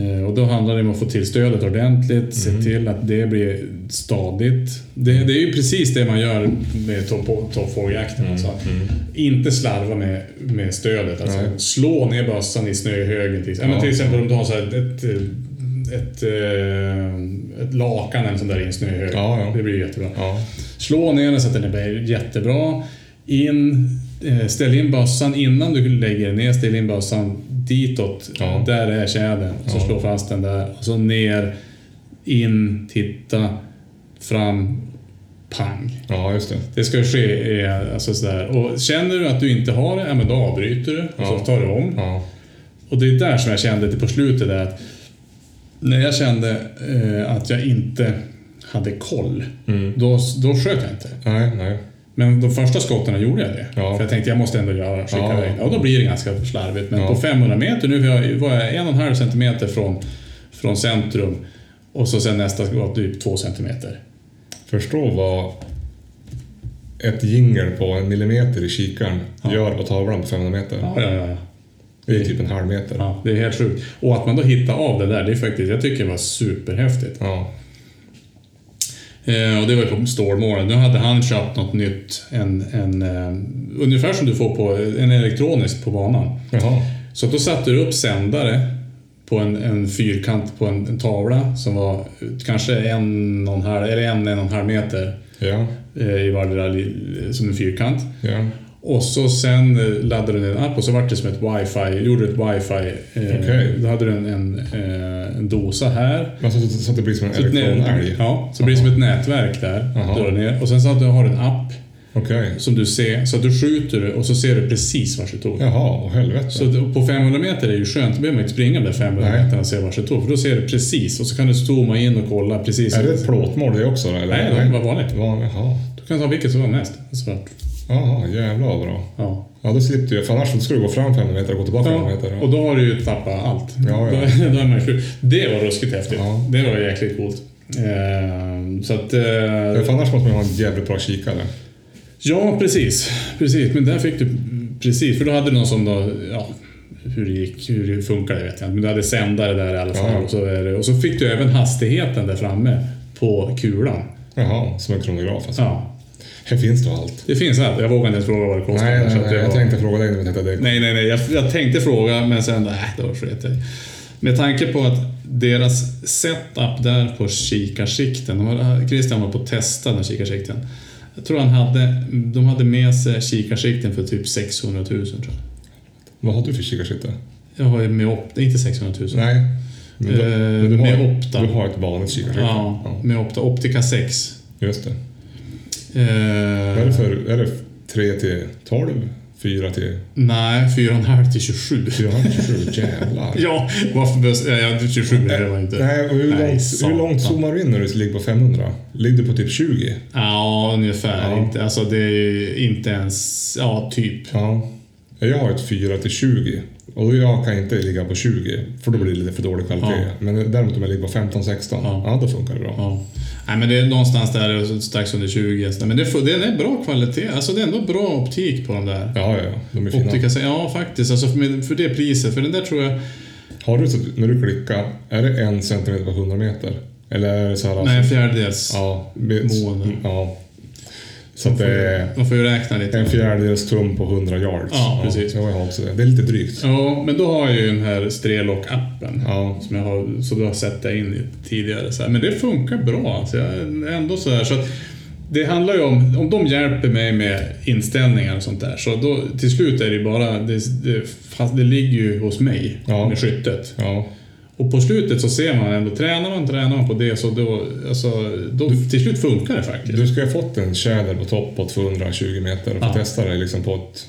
Speaker 1: Eh, och då handlar det om att få till stödet ordentligt, se till att det blir stadigt. Det, det är ju precis det man gör med topp- toppfågeljakten. alltså. Inte slarva med, med stödet. Alltså,
Speaker 2: Nej.
Speaker 1: slå ner bössan i snöhögen. Till, ja. men till exempel om du har så här ett, eh, ett, eh, ett lakan eller sånt där i en snöhög.
Speaker 2: Ja, ja.
Speaker 1: Det blir ju jättebra.
Speaker 2: Ja,
Speaker 1: Slå ner den så att den är jättebra. In, eh, ställ in bössan innan du lägger den ner. Ställ in bössan ditåt.
Speaker 2: Ja.
Speaker 1: Där är tjädern. Så
Speaker 2: Ja.
Speaker 1: slå fast den där. Och så ner, in, titta, fram, pang.
Speaker 2: ja just det.
Speaker 1: Det ska ske eh, alltså sådär. Och känner du att du inte har det, ja, men då avbryter du och
Speaker 2: Ja.
Speaker 1: så tar du om.
Speaker 2: Ja,
Speaker 1: Och det är där som jag kände det på slutet där att när jag kände eh, att jag inte hade koll,
Speaker 2: Mm.
Speaker 1: då, då sköt jag inte.
Speaker 2: nej, nej.
Speaker 1: Men de första skotten gjorde jag det.
Speaker 2: Ja.
Speaker 1: För jag tänkte jag måste ändå göra skicka
Speaker 2: Ja.
Speaker 1: iväg. Och då blir det ganska slarvigt. Men
Speaker 2: Ja.
Speaker 1: på 500 meter, nu var jag- var jag en och en halv centimeter från, från centrum och så sen nästa skott typ två centimeter.
Speaker 2: Förstå vad ett jingel på en millimeter i kikaren gör på tavlan på 500 meter.
Speaker 1: Ja, ja, ja.
Speaker 2: Det är typ en halv meter. Ja.
Speaker 1: ja. Det är helt sjukt. Och att man då hittar av det där, det är faktiskt, jag tycker det var superhäftigt.
Speaker 2: Ja.
Speaker 1: Eh, Eh, och det var ju på stormålen. Nu hade han köpt något nytt. En, en, eh, ungefär som du får på en elektronisk på banan.
Speaker 2: Jaha.
Speaker 1: Så att då satte du upp sändare på en, en fyrkant på en, en tavla som var kanske en och en halv, eller en, en och en halv meter
Speaker 2: Ja,
Speaker 1: eh, i vardera li- som en fyrkant.
Speaker 2: ja.
Speaker 1: Och så sen eh, laddade du ner en app och så vart det som ett wifi, gjorde du ett wifi. Eh,
Speaker 2: Okej.
Speaker 1: Då hade du en, en, eh, en dosa här.
Speaker 2: Men så, så, så att det blir som en
Speaker 1: Så ett nä-
Speaker 2: elektronälg?
Speaker 1: Ja, så blir det som ett nätverk där.
Speaker 2: Jaha.
Speaker 1: Drar ner. Och sen så att du har en app
Speaker 2: Okej.
Speaker 1: som du ser, så att du skjuter och så ser du precis vart du tog.
Speaker 2: Jaha, åh helvete.
Speaker 1: Så att på 500 meter är det ju skönt, då behöver man inte springa de där 500
Speaker 2: Nej.
Speaker 1: meterna och se vart det tog. För då ser du precis och så kan du zooma in och kolla precis.
Speaker 2: är det ett plåtmål det också? Eller?
Speaker 1: Nej, det var vanligt.
Speaker 2: Van, jaha.
Speaker 1: Du kan ta vilket som var mest. Svart.
Speaker 2: Jaha, jävlar vad bra.
Speaker 1: Ja.
Speaker 2: Ja, då slipper du För annars så skulle du gå fram 500 meter och gå tillbaka 500 meter.
Speaker 1: Och då har du ju tappat allt.
Speaker 2: Ja, ja.
Speaker 1: Då, då är man ju sjuk. Det var ruskigt häftigt.
Speaker 2: Ja.
Speaker 1: Det var jäkligt coolt. Ehm, så att... eh,
Speaker 2: Ja, för annars måste man ha en jävligt bra kikare.
Speaker 1: ja, precis. Precis, men där fick du... Precis, för då hade du någon som då... Ja, hur det gick, hur det funkade vet jag inte. Men du hade sändare där i alla fall.
Speaker 2: Ja.
Speaker 1: Och, så är det, och så fick du även hastigheten där framme på kulan.
Speaker 2: Jaha, som en kronograf alltså.
Speaker 1: Ja.
Speaker 2: Här finns då allt.
Speaker 1: Det finns allt. Jag vågar inte ens fråga vad det kostar.
Speaker 2: Nej,
Speaker 1: så att
Speaker 2: nej, nej,
Speaker 1: det
Speaker 2: jag
Speaker 1: var-
Speaker 2: tänkte fråga dig när vi tittade. Det.
Speaker 1: Nej, nej, nej. Jag, jag tänkte fråga, men sen nej, det var sket jag i. Med tanke på att deras setup där på kikarsikten, de var, Christian var på att testa den kikarsikten. Jag tror han hade, de hade med sig kikarsikten för typ 600 000 tror jag.
Speaker 2: Vad har du för kikarsikte?
Speaker 1: Jag har ju med Opta, inte 600 000.
Speaker 2: Nej. Men du,
Speaker 1: Eh,
Speaker 2: men du har,
Speaker 1: med Opta.
Speaker 2: Du har ett vanligt kikarsikte.
Speaker 1: Ja, med Opta. Optica 6.
Speaker 2: Just det.
Speaker 1: Eh,
Speaker 2: Vad är det för... Är det 3 till 12? 4 till...
Speaker 1: Nej, 4,5 till 27.
Speaker 2: 4 till 27? Jävlar.
Speaker 1: Ja, varför behövs... Ja, ja, 27 är det var inte.
Speaker 2: Nej, och hur,
Speaker 1: Nej,
Speaker 2: långt,
Speaker 1: satan.
Speaker 2: hur långt zoomar du in när du ligger på 500? Ligger du på typ 20?
Speaker 1: Ja, ungefär.
Speaker 2: Ja.
Speaker 1: Inte, alltså det är ju inte ens... Ja, typ.
Speaker 2: Ja. Jag har ett 4 till 20. Och jag kan inte ligga på 20, för då blir det lite för dålig kvalitet.
Speaker 1: Ja.
Speaker 2: Men däremot om jag ligger på 15-16,
Speaker 1: Ja.
Speaker 2: ja. då funkar det bra.
Speaker 1: Ja. Nej, men det är någonstans där alltså, strax under 20. Men det, får- det är bra kvalitet. Alltså det är ändå bra optik på de där.
Speaker 2: Ja, ja, ja. De är fina.
Speaker 1: Optika, så- ja, faktiskt. Alltså för, med- för det priset. För den där tror jag...
Speaker 2: Har du så att när du klickar, är det en centimeter på 100 meter? Eller är det så här... alltså-
Speaker 1: Nej, en fjärdedels.
Speaker 2: ja, be-
Speaker 1: Måne.
Speaker 2: Ja. Så att det är
Speaker 1: Man får ju räkna lite.
Speaker 2: en fjärdedels tum på 100 yards.
Speaker 1: Ja, precis.
Speaker 2: Ja, jag har också det. det är lite drygt.
Speaker 1: Ja, men då har jag ju den här Strelock-appen.
Speaker 2: Ja.
Speaker 1: Som jag har, så du har sett det in i tidigare. Så här. Men det funkar bra. Alltså jag är ändå så här, så att det handlar ju om, om de hjälper mig med inställningar och sånt där, så då, till slut är det ju bara, det, det, fast det ligger ju hos mig
Speaker 2: Ja.
Speaker 1: med skyttet.
Speaker 2: Ja.
Speaker 1: Och på slutet så ser man ändå, tränar man, tränar man på det, så då, alltså, då till slut funkar det faktiskt.
Speaker 2: Du ska ha fått en tjäder på topp på 220 meter och få
Speaker 1: Ja.
Speaker 2: testa det liksom på ett,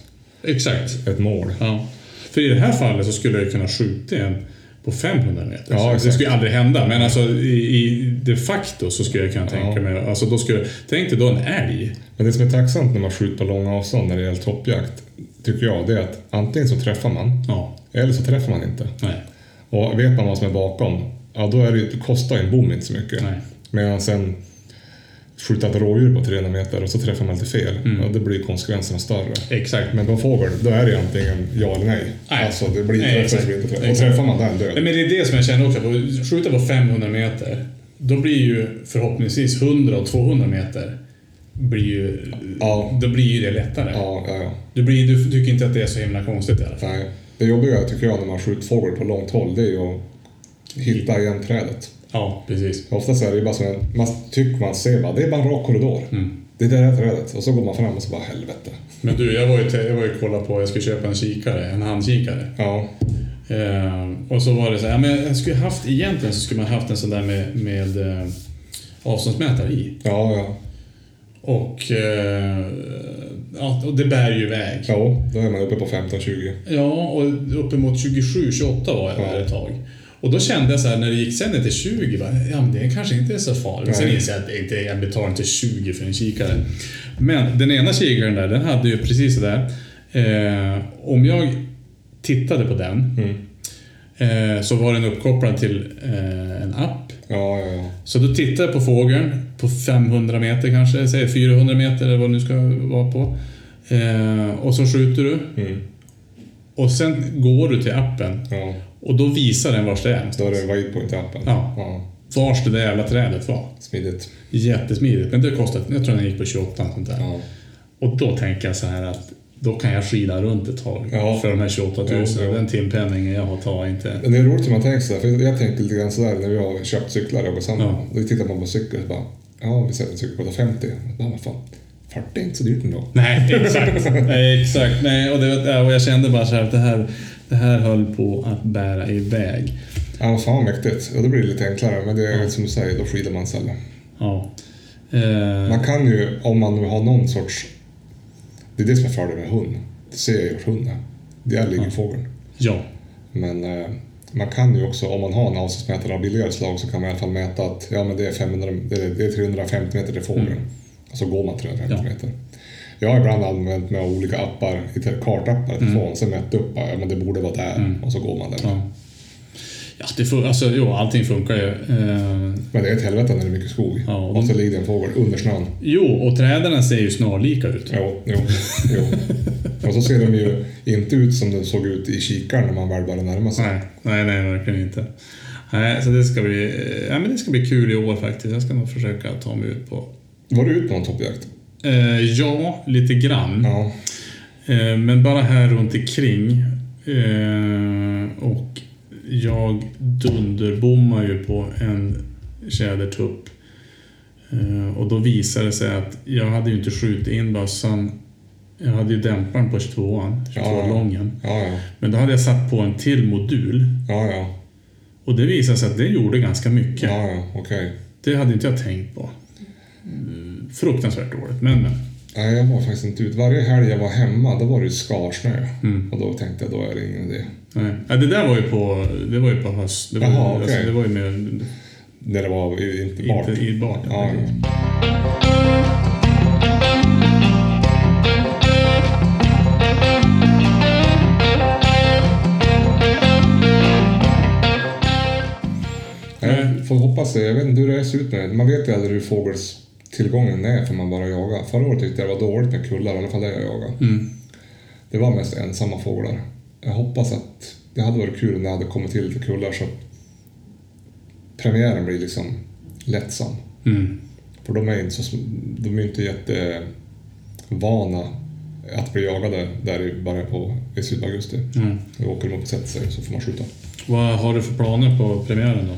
Speaker 1: Exakt.
Speaker 2: ett mål.
Speaker 1: Ja. För i det här fallet så skulle jag ju kunna skjuta en på 500 meter.
Speaker 2: Ja,
Speaker 1: Så det
Speaker 2: exakt.
Speaker 1: skulle ju aldrig hända, men alltså i, i de facto så skulle jag kunna tänka
Speaker 2: Ja.
Speaker 1: mig... Alltså då skulle, tänk dig då en älg.
Speaker 2: Men det som är tacksamt när man skjuter på långa avstånd när det gäller toppjakt, tycker jag, det är att antingen så träffar man,
Speaker 1: Ja,
Speaker 2: eller så träffar man inte.
Speaker 1: nej.
Speaker 2: Och vet man vad som är bakom, ja då är det, ju- det kostar ju en bom inte så mycket.
Speaker 1: Nej.
Speaker 2: Medan sen skjuta ett rådjur på 300 meter och så träffar man lite fel,
Speaker 1: Mm.
Speaker 2: ja, då blir konsekvenserna större.
Speaker 1: Exakt.
Speaker 2: Men på en fågel, då är det ju antingen ja eller nej.
Speaker 1: Nej.
Speaker 2: Alltså det blir
Speaker 1: Nej,
Speaker 2: träff eller
Speaker 1: exakt.
Speaker 2: så blir det inte träff. Och
Speaker 1: Exakt.
Speaker 2: träffar man den, död.
Speaker 1: Nej, Men det är det som jag känner också, på- skjuta på 500 meter, då blir ju förhoppningsvis 100 och 200 meter, blir ju,
Speaker 2: Ja.
Speaker 1: då blir ju det lättare.
Speaker 2: Ja, ja, ja.
Speaker 1: Du, blir, du tycker inte att det är så himla konstigt i alla fall.
Speaker 2: Nej, det jobbiga tycker jag när man skjuter fågel på långt håll, det är ju att hitta igen trädet.
Speaker 1: Ja, precis.
Speaker 2: Oftast är det ju bara som en, man tycker man ser bara, det är bara en rak korridor.
Speaker 1: Mm.
Speaker 2: Det är det här trädet. Och så går man fram och så bara, helvete.
Speaker 1: Men du, jag var ju, jag var ju kolla på, jag skulle köpa en kikare, en handkikare.
Speaker 2: Ja,
Speaker 1: Eh, och så var det så här, ja, men jag skulle haft, egentligen så skulle man haft en sån där med, med eh, avståndsmätare i.
Speaker 2: ja, ja.
Speaker 1: Och, eh, ja, och det bär ju iväg. Ja,
Speaker 2: Ja, då är man uppe på 15-20.
Speaker 1: och uppemot 27-28 var jag
Speaker 2: Ja.
Speaker 1: där ett tag. Och då kände jag så här när det gick sen ner till 20, bara, ja men det kanske inte är så farligt.
Speaker 2: Nej.
Speaker 1: Sen inser jag att det inte, jag betalar inte 20 för en kikare. Men den ena kikaren där, den hade ju precis så där. Eh, om jag tittade på den,
Speaker 2: Mm.
Speaker 1: Eh, så var den uppkopplad till eh, en app.
Speaker 2: Ja, ja, ja.
Speaker 1: Så då tittar jag på fågeln på 500 meter kanske, säg 400 meter eller vad det nu ska vara på. Eh, och så skjuter du
Speaker 2: Mm.
Speaker 1: och sen går du till appen
Speaker 2: ja.
Speaker 1: och då visar den vars det är.
Speaker 2: Då är det waypoint i appen.
Speaker 1: Ja.
Speaker 2: ja.
Speaker 1: vars det där jävla trädet var.
Speaker 2: Smidigt.
Speaker 1: Jättesmidigt. Men det kostade, jag tror den gick på 28 sånt där.
Speaker 2: Ja.
Speaker 1: Och då tänker jag så här att då kan jag skida runt ett tag
Speaker 2: Ja.
Speaker 1: för de här 28 000.
Speaker 2: Jo, jo.
Speaker 1: Den timpenningen jag har tar jag inte.
Speaker 2: Men det är roligt hur man tänker sådär, för jag tänker lite grann sådär när vi har köpt cyklar och går samman.
Speaker 1: Ja.
Speaker 2: Då tittar man på cykeln och bara, ja vi säljer en cykel på 50. Nej men fan, 40 är inte så dyrt ändå.
Speaker 1: Nej, exakt. Nej, exakt. Nej, och, det, var- och jag kände bara så här att det här, det här höll på att bära iväg.
Speaker 2: Ja men fan vad mäktigt. Och då blir det lite enklare, men det är som du säger, då skidar man sällan.
Speaker 1: Ja. Eh,
Speaker 2: Man kan ju, om man nu har någon sorts... Det är det som är fördelen med hund. Det ser jag hos hunden. Där ligger fågeln.
Speaker 1: ja.
Speaker 2: Men eh, man kan ju också, om man har en avståndsmätare av billigare slag så kan man i alla fall mäta att ja, men det, är 500, det, är, det är 350 meter till fågeln. Och så går man 350
Speaker 1: Mm. Ja.
Speaker 2: meter. Jag har ibland använt mig av olika appar, lite kartappar i telefonen, sen mätt upp ja, men det borde vara där och så går man där.
Speaker 1: Mm. Ja, ja det fun- alltså, jo, allting funkar ju. Eh,
Speaker 2: Men det är ett helvete när det är mycket skog
Speaker 1: Ja,
Speaker 2: och,
Speaker 1: och de-
Speaker 2: så ligger det en fågel under snön.
Speaker 1: jo, och träden ser ju snarlika ut.
Speaker 2: Jo, jo, jo. och så ser de ju inte ut som de såg ut i kikaren när man väl började närma sig.
Speaker 1: Nej, nej, nej, verkligen inte. Nej, så det ska bli, eh, ja, men det ska bli kul i år faktiskt. Jag ska nog försöka ta mig ut på...
Speaker 2: Var du ute på någon toppjakt?
Speaker 1: Eh, ja, lite grann.
Speaker 2: Ja.
Speaker 1: Eh, Men bara här runt omkring. Eh, Och jag dunderbommar ju på en tjädertupp. Eh, Och då visade det sig att jag hade ju inte skjutit in bössan. Jag hade ju dämparen på 22an, 22-lången.
Speaker 2: Ja, ja.
Speaker 1: Men då hade jag satt på en till modul.
Speaker 2: Ja, ja.
Speaker 1: Och det visade sig att det gjorde ganska mycket.
Speaker 2: Ja, ja. Okej.
Speaker 1: Det hade inte jag tänkt på. Mm, Fruktansvärt dåligt, men men.
Speaker 2: Nej, jag var faktiskt inte ute. Varje helg jag var hemma, då var det ju skarsnö. Och då tänkte jag, då är det ingen idé.
Speaker 1: Nej. Ja, det där var ju på, det var ju på höst. Det var,
Speaker 2: Jaha,
Speaker 1: ju, alltså,
Speaker 2: okej.
Speaker 1: det var ju med
Speaker 2: När det var i- inte bart.
Speaker 1: Inte i bart.
Speaker 2: Ja, ja. Nej, får hoppas det. Jag vet inte hur det ser ut med det. Man vet ju aldrig hur fågels tillgången är för man bara jagar. Förra året tyckte jag det var dåligt med kullar, i alla fall där jag jagade.
Speaker 1: Mm.
Speaker 2: Det var mest ensamma fåglar. Jag hoppas att det hade varit kul om det hade kommit till lite kullar så premiären blir liksom lättsam.
Speaker 1: Mm.
Speaker 2: För de är inte, så, sm- de är inte jättevana att bli jagade där i början på i slutet av augusti.
Speaker 1: Mm.
Speaker 2: Då åker de upp och sätter sig så får man skjuta.
Speaker 1: Vad har du för planer på premiären då?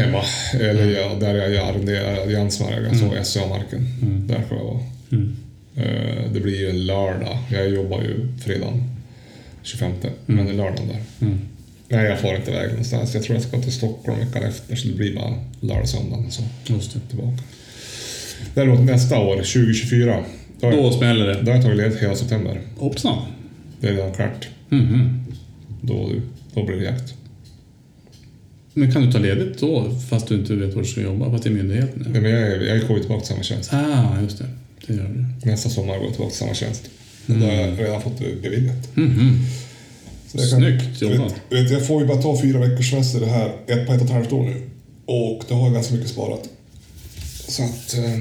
Speaker 2: Hemma, eller
Speaker 1: Mm.
Speaker 2: ja, där jag, jag arrenderar i Ansvarga, så SCA-marken. Där ska jag vara.
Speaker 1: Mm.
Speaker 2: Eh, Det blir ju en lördag. Jag jobbar ju fredagen 25, men det är lördagen där.
Speaker 1: Mm.
Speaker 2: Nej, jag får inte iväg någonstans. Jag tror jag ska till Stockholm veckan efter, så det blir bara lördag, söndag. Så.
Speaker 1: Just det.
Speaker 2: tillbaka. Däremot nästa år, 2024, då har,
Speaker 1: Då
Speaker 2: jag,
Speaker 1: smäller det.
Speaker 2: då har jag tagit ledigt hela september.
Speaker 1: Hoppsan.
Speaker 2: Det är redan klart.
Speaker 1: Mhm.
Speaker 2: Då, då blir det jakt.
Speaker 1: Men kan du ta ledigt då fast du inte vet var du ska jobba? Fast det är myndigheten? nu?
Speaker 2: Nej, men jag, är- jag går ju tillbaka till samma tjänst.
Speaker 1: Ah, just det. Det gör du.
Speaker 2: Nästa sommar går jag tillbaka till samma tjänst. Mm. Då har jag redan fått det beviljat.
Speaker 1: Mm-hmm.
Speaker 2: Så jag kan-
Speaker 1: Snyggt
Speaker 4: Du
Speaker 1: jobbat.
Speaker 4: Vet, du vet, jag får ju bara ta fyra veckors semester det här, ett på ett och ett halvt år nu. Och då har jag ganska mycket sparat.
Speaker 2: Så att... eh,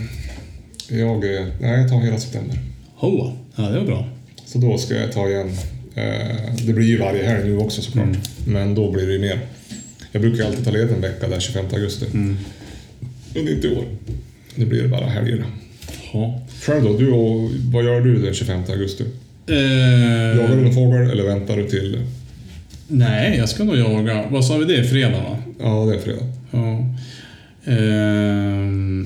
Speaker 2: Jag, eh, nej, jag tar hela september.
Speaker 1: Hoa. Ja, det var bra.
Speaker 2: Så då ska jag ta igen. eh, Det blir ju varje helg nu också såklart.
Speaker 1: Mm.
Speaker 2: Men då blir det ju mer. Jag brukar ju alltid ta ledigt en vecka där 25 augusti.
Speaker 1: Mm.
Speaker 2: Men inte i år. Det blir bara helgerna.
Speaker 1: Ja.
Speaker 2: Själv då, du och, vad gör du den 25 augusti?
Speaker 1: Eh,
Speaker 2: Jagar du någon fågel eller väntar du till...
Speaker 1: nej, jag ska nog jaga. Vad sa vi det? Fredag va?
Speaker 2: Ja, det är fredag.
Speaker 1: Ja. Ehm,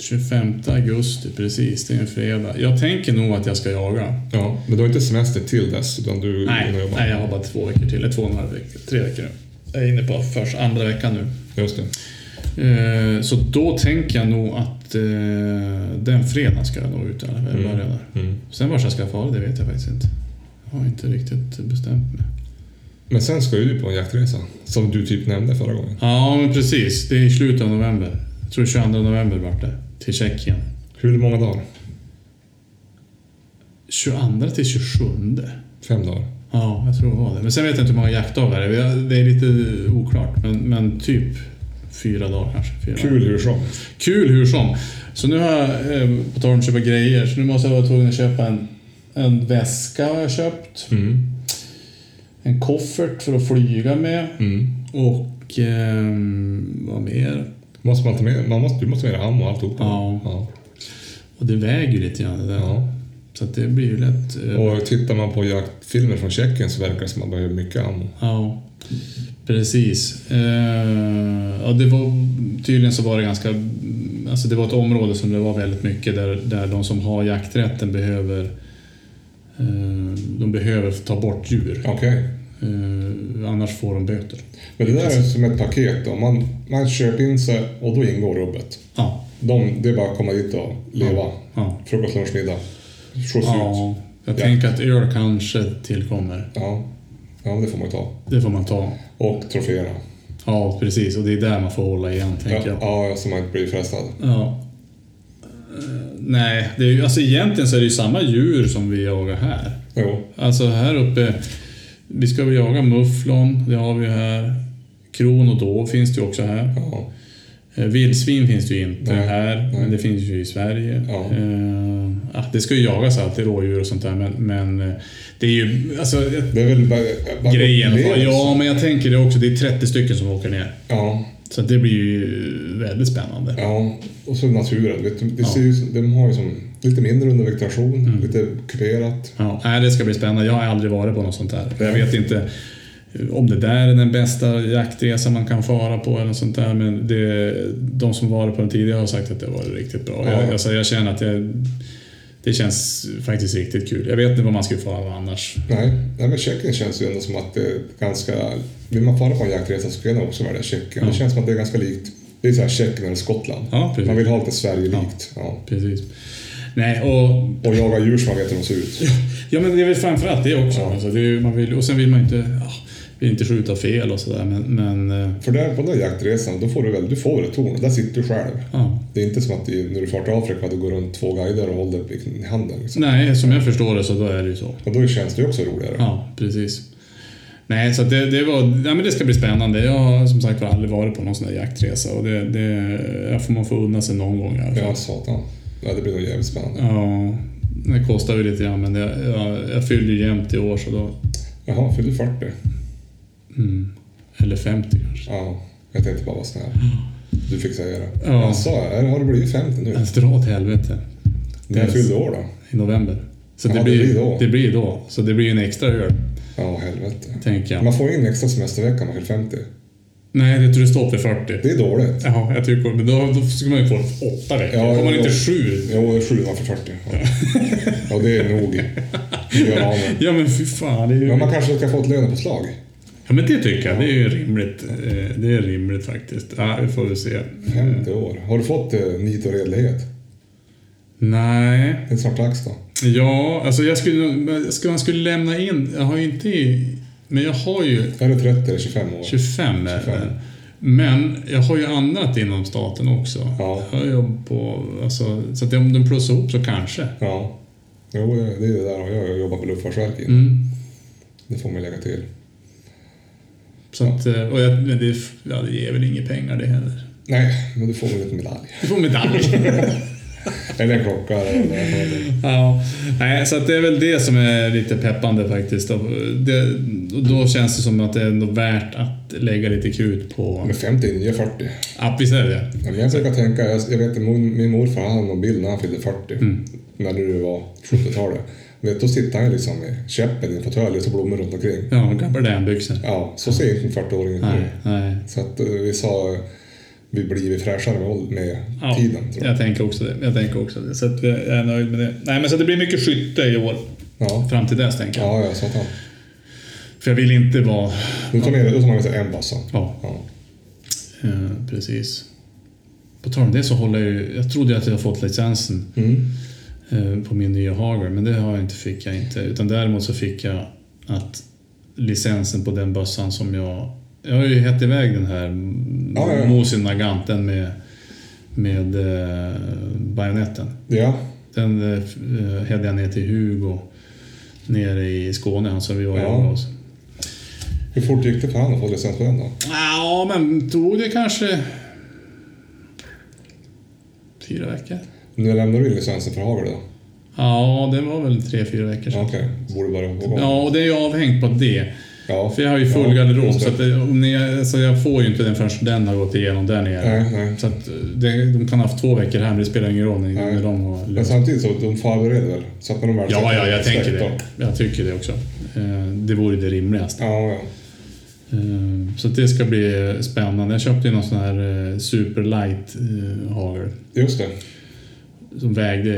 Speaker 1: 25 augusti, precis. Det är en fredag. Jag tänker nog att jag ska jaga.
Speaker 2: Ja, men du har inte semester till dess utan du
Speaker 1: Nej,
Speaker 2: du jobbar.
Speaker 1: nej, jag har bara två veckor till. Eller två och en halv vecka. Tre veckor nu. Jag är inne på först andra veckan nu.
Speaker 2: Just det.
Speaker 1: Eh, så då tänker jag nog att eh, den fredagen ska jag nog ut i alla fall. Börja där.
Speaker 2: Mm.
Speaker 1: Sen vart jag ska fara, det vet jag faktiskt inte. Jag har inte riktigt bestämt mig.
Speaker 2: Men sen ska ju du på en jaktresa. Som du typ nämnde förra gången.
Speaker 1: Ja, men precis. Det är i slutet av november. Jag tror 22 november vart det. Till Tjeckien.
Speaker 2: Hur många dagar?
Speaker 1: 22 till 27.
Speaker 2: Fem dagar?
Speaker 1: Ja, jag tror det var det. Men sen vet jag inte hur många jaktdagar det är. Det är lite oklart. Men, men typ fyra dagar kanske. Fyra
Speaker 2: Kul hur som.
Speaker 1: Kul hur som. Så nu har jag, eh, på tal om att köpa grejer, så nu måste jag vara tvungen att köpa en, en väska har jag köpt.
Speaker 2: Mm.
Speaker 1: En koffert för att flyga med.
Speaker 2: Mm.
Speaker 1: Och Och ehm, vad mer?
Speaker 2: Måste man ta med, man måste, du måste ha med dig ammo och alltihop.
Speaker 1: Ja. Och det väger ju lite grann det där.
Speaker 2: Ja.
Speaker 1: Så att det blir ju lätt... eh,
Speaker 2: Och tittar man på jaktfilmer från Tjeckien så verkar det som att man behöver mycket ammo.
Speaker 1: Ja, precis. Eh, ja, det var, tydligen så var det ganska... Alltså det var ett område som det var väldigt mycket där, där de som har jakträtten behöver eh, de behöver ta bort djur.
Speaker 2: Okej.
Speaker 1: Eh, annars får de böter.
Speaker 2: Men det där är som ett paket då. Man, man köper in sig och då ingår rubbet.
Speaker 1: Ja,
Speaker 2: De, det är bara att komma dit och leva.
Speaker 1: ja,
Speaker 2: Frukost, lunch, middag. Skjuts ut.
Speaker 1: ja. Jag tänker att öl kanske tillkommer.
Speaker 2: Ja. ja, det får man ju ta.
Speaker 1: Det får man ta.
Speaker 2: Och troféerna.
Speaker 1: Ja, precis. Och det är där man får hålla igen,
Speaker 2: Ja,
Speaker 1: tänker jag.
Speaker 2: ja, så man inte blir frestad.
Speaker 1: Ja. Eh, Nej, det är ju, alltså egentligen så är det ju samma djur som vi jagar här.
Speaker 2: Jo.
Speaker 1: Alltså här uppe, vi ska väl jaga mufflon, det har vi ju här. Kron och dov finns det ju också här.
Speaker 2: Ja.
Speaker 1: Eh, vildsvin finns det ju inte
Speaker 2: Nej,
Speaker 1: här, men
Speaker 2: nej.
Speaker 1: det finns ju i Sverige.
Speaker 2: Ja.
Speaker 1: Eh, ja, det ska ju jagas alltid, rådjur och sånt där, men, men eh, det är ju alltså, eh,
Speaker 2: Det är väl bara... bara
Speaker 1: grejen.
Speaker 2: upplevelse.
Speaker 1: Ja, men jag tänker det också, det är 30 stycken som åker ner.
Speaker 2: ja.
Speaker 1: Så det blir ju väldigt spännande.
Speaker 2: Ja, och så naturen. Vet du, det ser ju, de har ju som lite mindre under vegetation,
Speaker 1: Mm.
Speaker 2: lite kuperat.
Speaker 1: Ja, nej, det ska bli spännande. Jag har aldrig varit på något sånt där. Jag vet inte om det där är den bästa jaktresa man kan fara på eller något sånt där. Men det, de som varit på den tidigare har sagt att det var riktigt bra.
Speaker 2: Ja.
Speaker 1: Jag, alltså, jag känner att jag, det känns faktiskt riktigt kul. Jag vet inte vad man skulle fara annars.
Speaker 2: Nej, nej, men Tjeckien känns ju ändå som att det är ganska... Vill man fara på en jaktresa så kan man också välja Tjeckien. Det känns som att det är ganska likt. Det är så här Tjeckien eller Skottland.
Speaker 1: Ja, precis.
Speaker 2: man vill ha lite Sverige-likt. Ja.
Speaker 1: Precis. Nej, och,
Speaker 2: Och jaga djur som man vet hur de ser ut.
Speaker 1: ja, men det är väl framförallt det också.
Speaker 2: Ja.
Speaker 1: Alltså, det är, ju- man vill, och sen vill man inte, ja, vill inte skjuta fel och sådär. Men, men eh,
Speaker 2: För där, på den där jaktresan, då får du väl, du får väl ett torn. Där sitter du själv.
Speaker 1: ja.
Speaker 2: Det är inte som att du, när du far till Afrika, du går runt två guider och håller i handen. Liksom.
Speaker 1: nej, som jag förstår det så då är det ju så.
Speaker 2: Och då känns det ju också roligare.
Speaker 1: Mm. Ja, precis. Nej, så att det, det, var, nej, men det ska bli spännande. Jag har som sagt var aldrig varit på någon sån där jaktresa och det, det jag får man få unna sig någon gång i alla fall.
Speaker 2: Ja, satan. Ja, det blir nog jävligt spännande.
Speaker 1: Ja, det kostar ju lite grann men det, jag, jag fyller ju jämnt i år så då...
Speaker 2: Jaha, fyllde 40?
Speaker 1: Mm, eller 50 kanske.
Speaker 2: Ja, jag tänkte bara vara snäll. Du fick säga det.
Speaker 1: Ja.
Speaker 2: Jag sa, är- har du blivit 50 nu?
Speaker 1: Alltså dra åt helvete.
Speaker 2: När jag fyllde år då?
Speaker 1: I november. Så
Speaker 2: Ja,
Speaker 1: det,
Speaker 2: det
Speaker 1: blir,
Speaker 2: blir då.
Speaker 1: det blir då. Så det blir ju en extra öl,
Speaker 2: Ja, helvete.
Speaker 1: tänker jag.
Speaker 2: Man får ju in extra semestervecka om man fyller 50.
Speaker 1: Nej, det tror jag står för 40.
Speaker 2: Det är dåligt.
Speaker 1: Ja, jag tycker Men då, då skulle man ju få åtta veckor.
Speaker 2: Ja,
Speaker 1: Då får man
Speaker 2: ja.
Speaker 1: inte sju.
Speaker 2: Jo, det är sju man för 40. Ja, ja det är nog. Gör av med.
Speaker 1: Ja, men fy fan. Det är ju...
Speaker 2: Men man kanske ska få ett lönepåslag.
Speaker 1: Ja, men det tycker jag. Det är ju rimligt. Eh, Det är rimligt faktiskt. Ja, vi får väl se.
Speaker 2: 50
Speaker 1: Mm.
Speaker 2: år. Har du fått eh, nit och redlighet?
Speaker 1: Nej.
Speaker 2: Det är snart dags då.
Speaker 1: Ja, alltså jag skulle... men jag Ska man skulle lämna in... Jag har ju inte... i- Men jag har ju
Speaker 2: Är du 30 eller 25 år?
Speaker 1: 25 är
Speaker 2: 25.
Speaker 1: det. Men jag har ju annat inom staten också.
Speaker 2: Ja.
Speaker 1: Jag har jobb på... Alltså, så att om de plussar ihop så kanske.
Speaker 2: Ja. Jo, det är det där jag gör. Jag jobbar på Luftfartsverket.
Speaker 1: Mm.
Speaker 2: Det får man lägga till.
Speaker 1: Så att, eh, och jag, men det, ja, det ger väl inga pengar det heller.
Speaker 2: Nej, men du får väl en medalj.
Speaker 1: Du får medalj.
Speaker 2: Eller en klocka eller vad det är.
Speaker 1: Ja, nej, så att det är väl det som är lite peppande faktiskt. Och Det, och då känns det som att det är ändå värt att lägga lite krut på...
Speaker 2: Men 50 är nya 40.
Speaker 1: Ja, visst är det det
Speaker 2: Ja, men Jag brukar tänka, jag, jag vet att min, min morfar han hade någon bild när han fyllde 40.
Speaker 1: Mm.
Speaker 2: När det var 70-talet. Vet, då sitter han ju liksom med käppen i en fåtölj och så blommor runt omkring.
Speaker 1: Ja, gabardinbyxor.
Speaker 2: Ja, så ser inte en 40-åring ut
Speaker 1: Nej,
Speaker 2: nu.
Speaker 1: nej.
Speaker 2: Så att eh, vi sa, eh, vi blir fräschare med, åld- med
Speaker 1: Ja,
Speaker 2: tiden. Tror jag.
Speaker 1: jag tänker också det. Jag tänker också det. Så att jag är nöjd med det. Nej, men så det blir mycket skytte i år.
Speaker 2: Ja.
Speaker 1: Fram till dess tänker jag.
Speaker 2: Ja, ja, satan.
Speaker 1: För jag vill inte vara...
Speaker 2: Då tar man med- då tar man med sig en bassa.
Speaker 1: Ja,
Speaker 2: Ja.
Speaker 1: eh, precis. På tal om det så håller jag ju... Jag trodde ju att jag hade fått licensen.
Speaker 2: Mm.
Speaker 1: eh, på min nya Hager, men det har jag inte, fick jag inte. Utan däremot så fick jag att licensen på den bössan som jag... Jag har ju hett iväg den här
Speaker 2: Ja, ja, ja.
Speaker 1: Mosin Nagant, den med, med eh, bajonetten.
Speaker 2: ja.
Speaker 1: Den eh, f- eh, hade jag ner till Hugo nere i Skåne, han som vi var och
Speaker 2: Ja.
Speaker 1: jagade oss.
Speaker 2: Hur fort gick det för han att få licens på den då?
Speaker 1: Ja, men tog det kanske... Fyra veckor?
Speaker 2: Nu lämnar du in licensen för hagel då?
Speaker 1: Ja, det var väl tre, fyra veckor
Speaker 2: Ja,
Speaker 1: sedan.
Speaker 2: Okej, borde bara vara igång.
Speaker 1: Ja, och det är ju avhängt på det.
Speaker 2: Ja,
Speaker 1: För jag har ju full
Speaker 2: ja,
Speaker 1: garderob,
Speaker 2: just
Speaker 1: så,
Speaker 2: det.
Speaker 1: att det, om ni, så jag får ju inte den förrän den har gått igenom där nere.
Speaker 2: Nej, nej.
Speaker 1: Så att eh, det, de kan ha haft två veckor här, men det spelar ingen roll när,
Speaker 2: Nej.
Speaker 1: när de har
Speaker 2: Men
Speaker 1: löst.
Speaker 2: samtidigt så de förbereder väl? Så att när de väl
Speaker 1: Ja, ja, jag tänker
Speaker 2: Då.
Speaker 1: det. Jag tycker det också. Eh, Det vore det rimligaste.
Speaker 2: Ja, ja.
Speaker 1: Eh, Så att det ska bli eh, spännande. Jag köpte ju någon sån här eh, superlight eh, hagel.
Speaker 2: Just det.
Speaker 1: Som vägde...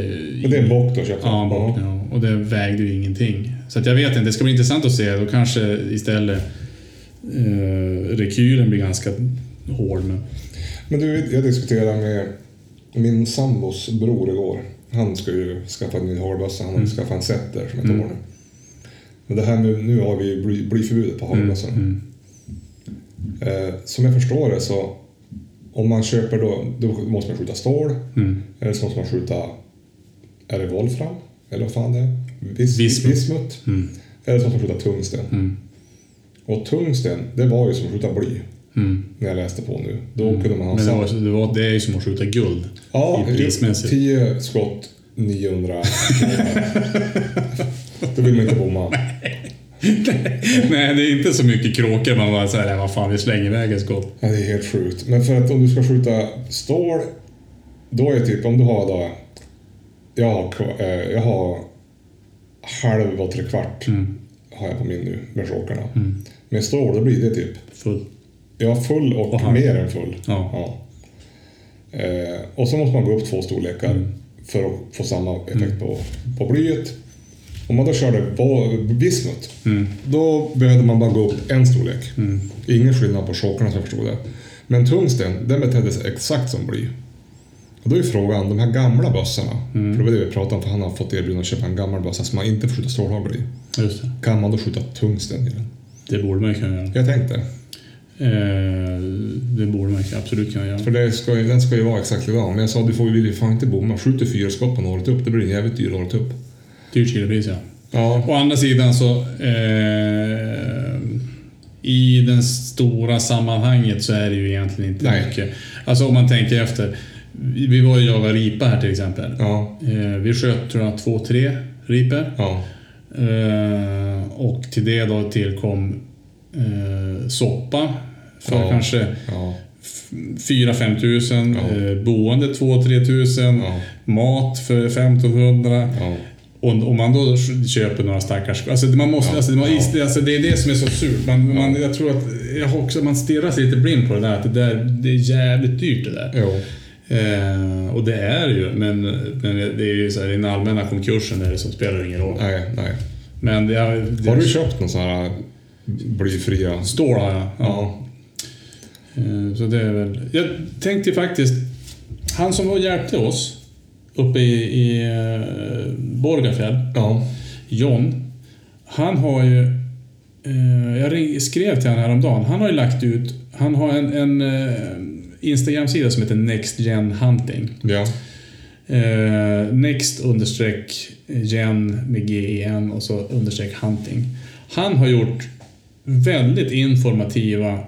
Speaker 2: Men det är en bock då köpte
Speaker 1: Ja, en bock, ja. Och det vägde ju ingenting. Så att jag vet inte, det ska bli intressant att se. Då kanske istället eh, rekylen blir ganska hård. Men
Speaker 2: Men du, jag diskuterade med min sambos bror igår. Han ska ju skaffa en ny hagelbössa. Han
Speaker 1: Mm.
Speaker 2: har ju skaffat en setter som ett år nu. Men det här med, nu har vi ju bly- blyförbudet
Speaker 1: Mm,
Speaker 2: på hagelbössorna. Eh, som jag förstår det så om man köper då, då måste man skjuta stål.
Speaker 1: Mm.
Speaker 2: Eller så måste man skjuta, är det volfram? Eller vad fan det är? Vis,
Speaker 1: Vismut.
Speaker 2: vismut.
Speaker 1: Mm.
Speaker 2: Eller så måste man skjuta tungsten. Och tungsten, det var ju som att skjuta bly. När jag läste på nu. Då kunde man ha
Speaker 1: Mm. Men det,
Speaker 2: samma-
Speaker 1: var, det, var, det är ju som att skjuta guld.
Speaker 2: Ja,
Speaker 1: i prismässigt.
Speaker 2: 10 skott, 900 Då vill man inte bomma.
Speaker 1: Nej, det är inte så mycket kråkor man bara säger, vad fan vi slänger iväg ett skott.
Speaker 2: Ja, det är helt sjukt. Men för att om du ska skjuta stål, då är det typ om du har då... Jag har, kva- eh, jag har halv och tre kvart
Speaker 1: Mm.
Speaker 2: har jag på min nu, med chokarna. Med stål, då blir det typ...
Speaker 1: Full.
Speaker 2: Jag har full och
Speaker 1: Och halv.
Speaker 2: mer än full.
Speaker 1: Ja.
Speaker 2: Eh, och så måste man gå upp två storlekar för att få samma effekt på, på blyet. Om man då körde på bismut, då behövde man bara gå upp en storlek. Ingen skillnad på chokarna som jag förstod det. Men tungsten, den betedde sig exakt som bly. Och då är frågan, de här gamla bössorna, för det var det vi pratade om, för han har fått erbjudande att köpa en gammal bössa som man inte får skjuta strålhagel i.
Speaker 1: Just det.
Speaker 2: Kan man då skjuta tungsten i den?
Speaker 1: Det borde man ju kunna göra.
Speaker 2: Jag tänkte.
Speaker 1: Eh, det borde man ju absolut kunna göra.
Speaker 2: För det ska, ju- den ska ju vara exakt likadan. Men jag sa du får ju vill ju fan inte bomma. Skjuter fyra skott på en året upp, det blir en jävligt dyr året upp.
Speaker 1: Dyrt kilopris ja.
Speaker 2: Ja.
Speaker 1: Å andra sidan så... Eh, I den stora sammanhanget så är det ju egentligen inte
Speaker 2: Nej.
Speaker 1: mycket. Alltså om man tänker efter. Vi vi var ju och jagade ripa här till exempel.
Speaker 2: Ja.
Speaker 1: Eh, vi sköt tror jag två, tre ripor.
Speaker 2: Ja.
Speaker 1: Eh, och till det då tillkom eh, soppa för
Speaker 2: Ja.
Speaker 1: kanske
Speaker 2: Ja.
Speaker 1: 4-5 tusen.
Speaker 2: Ja.
Speaker 1: Eh, boende 2-3 tusen.
Speaker 2: Ja.
Speaker 1: Mat för 1500.
Speaker 2: ja.
Speaker 1: Och om man då köper några stackars... Alltså det- man måste,
Speaker 2: Ja.
Speaker 1: alltså, det- man,
Speaker 2: Ja.
Speaker 1: alltså det är det som är så surt. Man, man, jag tror att jag har också, man stirrar sig lite blind på det där. Att det, där, det är jävligt dyrt det där.
Speaker 2: Jo.
Speaker 1: Eh, och det är det ju, men, men det är ju så här, i den allmänna konkursen är det som spelar ingen roll.
Speaker 2: Nej, nej.
Speaker 1: Men det, jag, det,
Speaker 2: Har du köpt någon sån här blyfria?
Speaker 1: Stål har jag. Ja.
Speaker 2: Ja.
Speaker 1: Eh, Så det är väl... Jag tänkte ju faktiskt... Han som var och hjälpte oss uppe i, i eh, Borgafjäll,
Speaker 2: Ja.
Speaker 1: John, han har ju... eh, Jag ring- skrev till honom häromdagen. Han har ju lagt ut... Han har en, en eh, Instagram-sida som heter Next Gen Hunting.
Speaker 2: Ja.
Speaker 1: Eh, next understreck gen med gen och så understreck hunting. Han har gjort väldigt informativa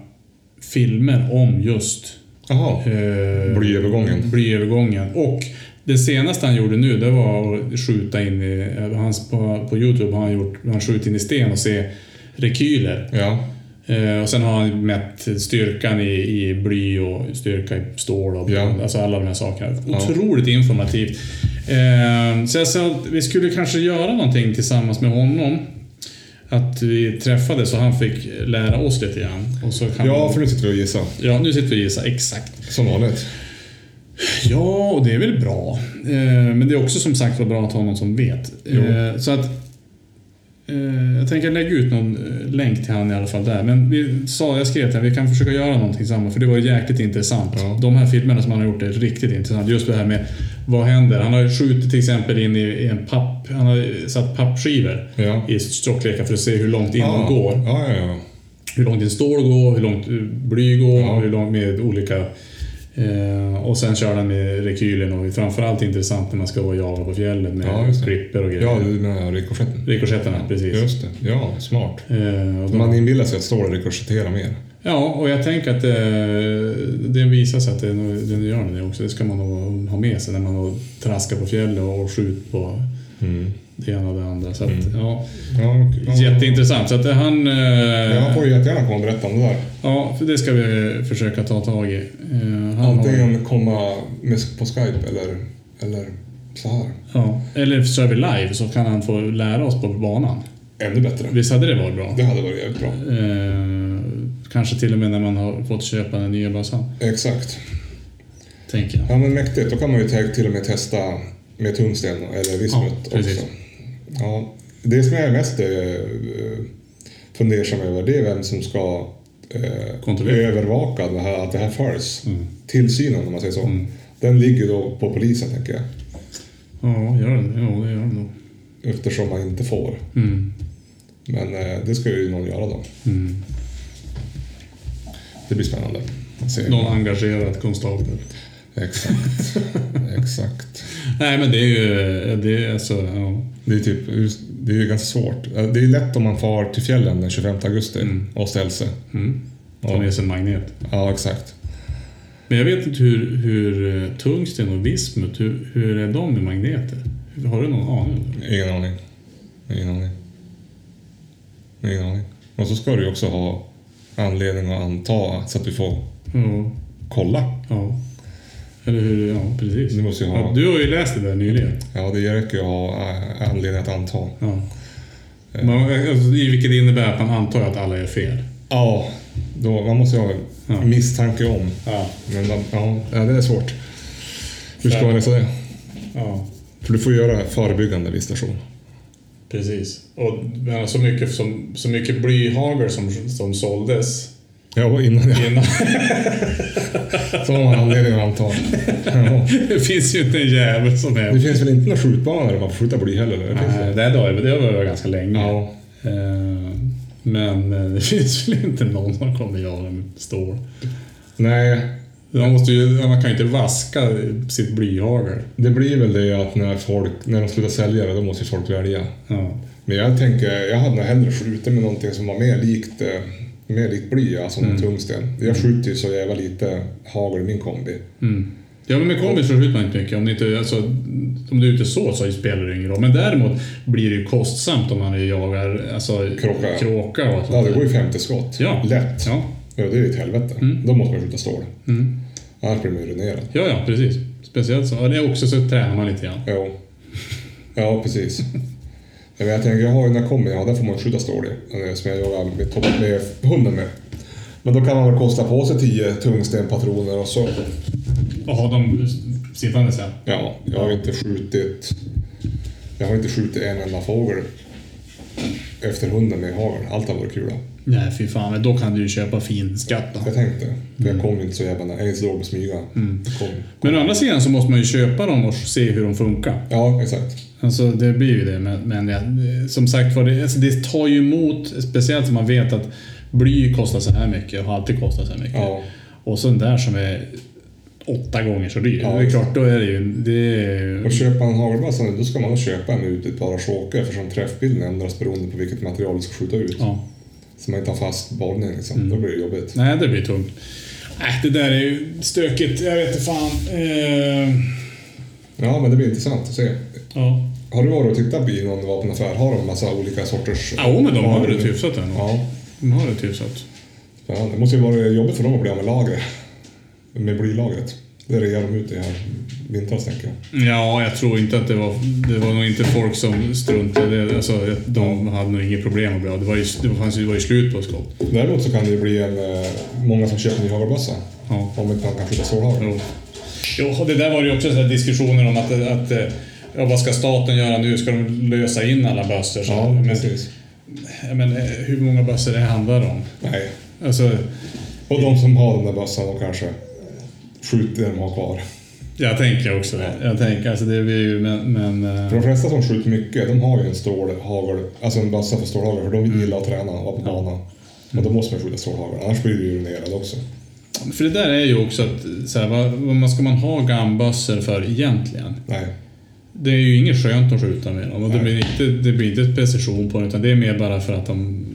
Speaker 1: filmer om just
Speaker 2: Jaha.
Speaker 1: eh,
Speaker 2: Blyövergången.
Speaker 1: blyövergången. Och det senaste han gjorde nu, det var att skjuta in i... eh, Hans, på, på Youtube har han, gjort, han skjutit in i sten och se rekyler.
Speaker 2: Ja.
Speaker 1: Eh, och sen har han mätt styrkan i, i bly och styrka i stål och
Speaker 2: Ja.
Speaker 1: alltså alla de här sakerna. Otroligt informativt. Eh, så jag sa att vi skulle kanske göra någonting tillsammans med honom. Att vi träffades och han fick lära oss lite grann. Och så kan
Speaker 2: Ja, för nu sitter du och gissar.
Speaker 1: ja, nu sitter vi och gissar exakt.
Speaker 2: Som vanligt.
Speaker 1: Ja, och det är väl bra. Eh, Men det är också som sagt var bra att ha någon som vet. Eh,
Speaker 2: Jo.
Speaker 1: Så att eh, jag tänker lägga ut någon eh, länk till han i alla fall där. Men vi sa, jag skrev till honom, vi kan försöka göra någonting tillsammans för det var jäkligt intressant.
Speaker 2: Ja.
Speaker 1: De här filmerna som han har gjort är riktigt intressant. Just det här med vad händer? Han har ju skjutit till exempel in i- i en papp, han har satt pappskivor
Speaker 2: Ja.
Speaker 1: i tjocklekar för att se hur långt in
Speaker 2: ja.
Speaker 1: de går
Speaker 2: Ja, ja, ja.
Speaker 1: hur långt din stål går, hur långt bly går,
Speaker 2: Ja.
Speaker 1: hur långt med olika... Eh, och sen kör den med rekylen och det är framförallt intressant när man ska vara och jaga på fjällen med
Speaker 2: Ja, just det.
Speaker 1: klippor och
Speaker 2: Ja,
Speaker 1: grejer.
Speaker 2: du menar rikoschetten?
Speaker 1: Rikoschetterna, precis.
Speaker 2: Just det. Ja, smart.
Speaker 1: Eh, och de,
Speaker 2: Man inbillar sig att stål rikoschetterar mer.
Speaker 1: Ja, och jag tänker att det, det visar sig att det, nog- det gör den det också. Det ska man nog ha med sig när man traskar på fjällen och skjuter på
Speaker 2: Mm.
Speaker 1: det ena och det andra. Så att, ja,
Speaker 2: Ja, Mm. ja.
Speaker 1: jätteintressant. Så att eh, han... eh,
Speaker 2: Ja, han får ju jättegärna komma och berätta om det där.
Speaker 1: Ja, för det ska vi eh, försöka ta tag i. Eh, han har,
Speaker 2: Antingen komma med på Skype eller, eller så här.
Speaker 1: ja, eller så är vi live så kan han få lära oss på banan.
Speaker 2: Ännu bättre.
Speaker 1: Visst hade det varit bra?
Speaker 2: Det hade varit jävligt bra.
Speaker 1: Eh, kanske till och med när man har fått köpa den nya bössan,
Speaker 2: Exakt.
Speaker 1: tänker jag.
Speaker 2: Ja men mäktigt, då kan man ju te- till och med testa med tungsten eller vismut
Speaker 1: Ja, precis.
Speaker 2: också. Ja, det som jag är mest eh, fundersam över det är vem som ska eh,
Speaker 1: Kontrollera. Mm.
Speaker 2: övervaka det här, att det här följs. Tillsynen om man säger så. Den ligger ju då på polisen tänker jag.
Speaker 1: Ja, gör den. Ja, det gör den nog.
Speaker 2: Eftersom man inte får.
Speaker 1: Mm.
Speaker 2: Men eh, det ska ju någon göra då.
Speaker 1: Mm.
Speaker 2: Det blir spännande. att se.
Speaker 1: Någon engagerad konstapel.
Speaker 2: Exakt. Exakt.
Speaker 1: Nej, men det är ju... eh, Det är alltså, ja.
Speaker 2: Det är, typ, det är ju ganska svårt. Eh, Det är lätt om man far till fjällen den 25 augusti och ställer sig.
Speaker 1: Mm. Ta med sig en magnet.
Speaker 2: Ja, exakt.
Speaker 1: Men jag vet inte hur, hur eh, tungsten och vismut, hur, hur är de med magneter? Har du någon aning? om det?
Speaker 2: Ingen aning. Ingen aning. Ingen aning. Och så ska du ju också ha anledning att anta så att du får
Speaker 1: Ja,
Speaker 2: kolla.
Speaker 1: ja. Eller hur? Ja, precis.
Speaker 2: Du måste ju ha-
Speaker 1: ja, du har ju läst det där nyligen.
Speaker 2: Ja, det räcker ju att ha äh, anledning att anta.
Speaker 1: Ja. Man, alltså, i vilket innebär att man antar att alla gör fel.
Speaker 2: Ja, då, man måste ju ha
Speaker 1: Ja.
Speaker 2: misstanke om.
Speaker 1: Ja.
Speaker 2: Men man, ja, ja, det är svårt. Hur ska man läsa det?
Speaker 1: ja.
Speaker 2: För du får göra förebyggande visitation.
Speaker 1: Precis. Och men, så, mycket, som, så mycket blyhagel som, som såldes
Speaker 2: Ja, innan jag...
Speaker 1: innan.
Speaker 2: Så har man anledning att anta. Ja.
Speaker 1: det finns ju inte en jävel som är...
Speaker 2: Det finns väl inte några skjutbanor där man får skjuta bly heller? Eller? Finns det?
Speaker 1: Nej, det där var- det var ganska länge.
Speaker 2: Ja.
Speaker 1: Eh, Men eh, det finns väl inte någon som kommer jaga med stål.
Speaker 2: Nej,
Speaker 1: Man, måste ju, man kan ju inte vaska sitt blyhagel.
Speaker 2: det blir väl det att när, folk, när de slutar sälja det, då måste ju folk välja.
Speaker 1: Ja.
Speaker 2: Men jag tänker, jag hade nog hellre skjutit med någonting som var mer likt, eh, mer likt bly, alltså
Speaker 1: Mm.
Speaker 2: en tungsten. Jag skjuter ju så jävla lite hagel i min kombi.
Speaker 1: Ja, men med kombis så skjuter man inte mycket. Om, det inte, alltså, om du är ute så, så spelar det ingen roll. Men däremot blir det ju kostsamt om man jagar alltså,
Speaker 2: Kråka.
Speaker 1: kråka och
Speaker 2: Ja,
Speaker 1: sånt
Speaker 2: det
Speaker 1: där.
Speaker 2: går ju 50 skott.
Speaker 1: Ja.
Speaker 2: Lätt.
Speaker 1: Ja.
Speaker 2: Ja, det är ju ett helvete. Då måste man skjuta stål.
Speaker 1: Mm.
Speaker 2: Annars blir man ju ruinerad.
Speaker 1: ja, ja, precis. Speciellt så. Ja, det är också så tränar man lite grann.
Speaker 2: Jo. Ja, precis. Ja, men jag tänker, jag har ju den här kombin, ja, där får man skjuta stål i. eh, Som jag jagar med, topp med hunden med. Men då kan man väl kosta på sig 10 tungstenpatroner och så.
Speaker 1: Och ha dem sittande sen.
Speaker 2: Ja, jag har inte skjutit... Jag har inte skjutit en enda fågel efter hunden med hagel. Allt har varit kula.
Speaker 1: Nej, fy fan. Men då kan du ju köpa fin skatt då.
Speaker 2: Jag tänkte, för jag kom ju inte så jävla nära. Jag är inte så dålig på att smyga. Jag Kom.
Speaker 1: Mm. Men å andra sidan så måste man ju köpa dem och se hur de funkar.
Speaker 2: Ja, exakt.
Speaker 1: Alltså det blir ju det. Men, men ja, som sagt var, det, alltså, det tar ju emot. Speciellt som man vet att bly kostar så här mycket och har alltid kostat så här mycket.
Speaker 2: Ja.
Speaker 1: Och så den där som är åtta gånger så dyr.
Speaker 2: Ja,
Speaker 1: det är klart, då är det ju... Det är ju
Speaker 2: Och köpa en hagelbössa nu, då ska man nog köpa en ut i ett par choker eftersom träffbilden ändras beroende på vilket material du ska skjuta ut.
Speaker 1: ja. Mm.
Speaker 2: Så man inte har fast badning liksom. Då blir det jobbigt.
Speaker 1: Nej, det blir tungt. Nej, det där är ju stökigt. Jag vet inte fan. Eh,
Speaker 2: Ja, men det blir intressant att se.
Speaker 1: ja.
Speaker 2: Har du varit och tittat i någon vapenaffär? Har de massa olika sorters...
Speaker 1: Ja, men de har det typ rätt hyfsat ändå.
Speaker 2: Ja.
Speaker 1: De har det hyfsat.
Speaker 2: Spännande. Det måste ju vara jobbigt för dem att bli av med lagret. Med blylagret. Det rear de ut i här vintras tänker jag.
Speaker 1: Ja, jag tror inte att det var... Det var nog inte folk som struntade. Alltså, de hade nog inget problem att bli av. Det var ju, det fanns ju, det var ju slut på skott.
Speaker 2: Däremot så kan det ju bli en, eh, många som köper en ny hagelbössa.
Speaker 1: Ja.
Speaker 2: Om inte man kan skjuta stålhagel.
Speaker 1: Jo. Mm. Jo, och det där var ju också så här diskussioner om att... att eh, ja, vad ska staten göra nu? Ska de lösa in alla bössor? Så här?
Speaker 2: Ja,
Speaker 1: men,
Speaker 2: precis.
Speaker 1: ja, men, eh, hur många bössor det handlar om?
Speaker 2: Nej.
Speaker 1: Alltså,
Speaker 2: Och de som har den där bössan de kanske skjuter det de har kvar.
Speaker 1: jag tänker också det. Jag tänker, alltså det blir ju... Men... men eh,
Speaker 2: För de flesta som skjuter mycket, de har ju en stålhagel, alltså en bössa för stålhagel, för
Speaker 1: Mm.
Speaker 2: de gillar att träna och vara på banan. Och då måste man skjuta stålhagel, annars blir du ju ruinerad också.
Speaker 1: för det där är ju också att... Så här, vad, vad man ska man ha gammabössor för egentligen?
Speaker 2: Nej.
Speaker 1: Det är ju inget skönt att skjuta med dem och det blir, inte, det blir inte precision på dem utan det är mer bara för att de...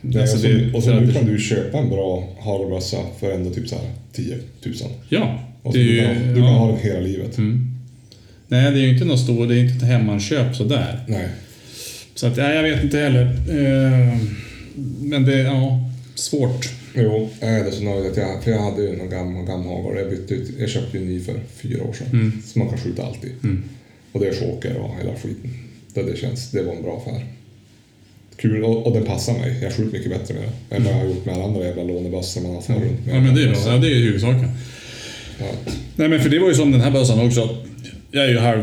Speaker 2: Nej,
Speaker 1: alltså
Speaker 2: och så,
Speaker 1: det-
Speaker 2: och så
Speaker 1: för att
Speaker 2: nu
Speaker 1: det-
Speaker 2: kan du ju köpa en bra hagelbössa för ändå typ så här 10 000.
Speaker 1: Ja,
Speaker 2: Och
Speaker 1: det
Speaker 2: så
Speaker 1: är
Speaker 2: du, kan,
Speaker 1: ju...
Speaker 2: du kan ha
Speaker 1: Ja, Mm.
Speaker 2: den hela livet.
Speaker 1: Nej, det är ju inte något stor, det är inte ett hemmanköp sådär.
Speaker 2: Nej.
Speaker 1: Så att, nej, jag vet inte heller. Eh, Men det, ja, svårt.
Speaker 5: Jo.
Speaker 2: Jag är ändå så nöjd att jag, för jag hade ju någon gammal gammhagare. Jag bytte ut, jag köpte ju en ny för fyra år sedan.
Speaker 1: Mm.
Speaker 2: Som man kan skjuta alltid. Och det är choker och hela skiten. Det, det känns, det var en bra affär. Kul och, och den passar mig. Jag skjuter mycket bättre med den. Än vad jag har gjort med alla andra jävla lånebössor man har fått runt med.
Speaker 1: Ja, men det är bra. Ja, det är huvudsaken.
Speaker 2: Ja.
Speaker 1: Nej, men för det var ju som den här bössan också. Jag är ju halv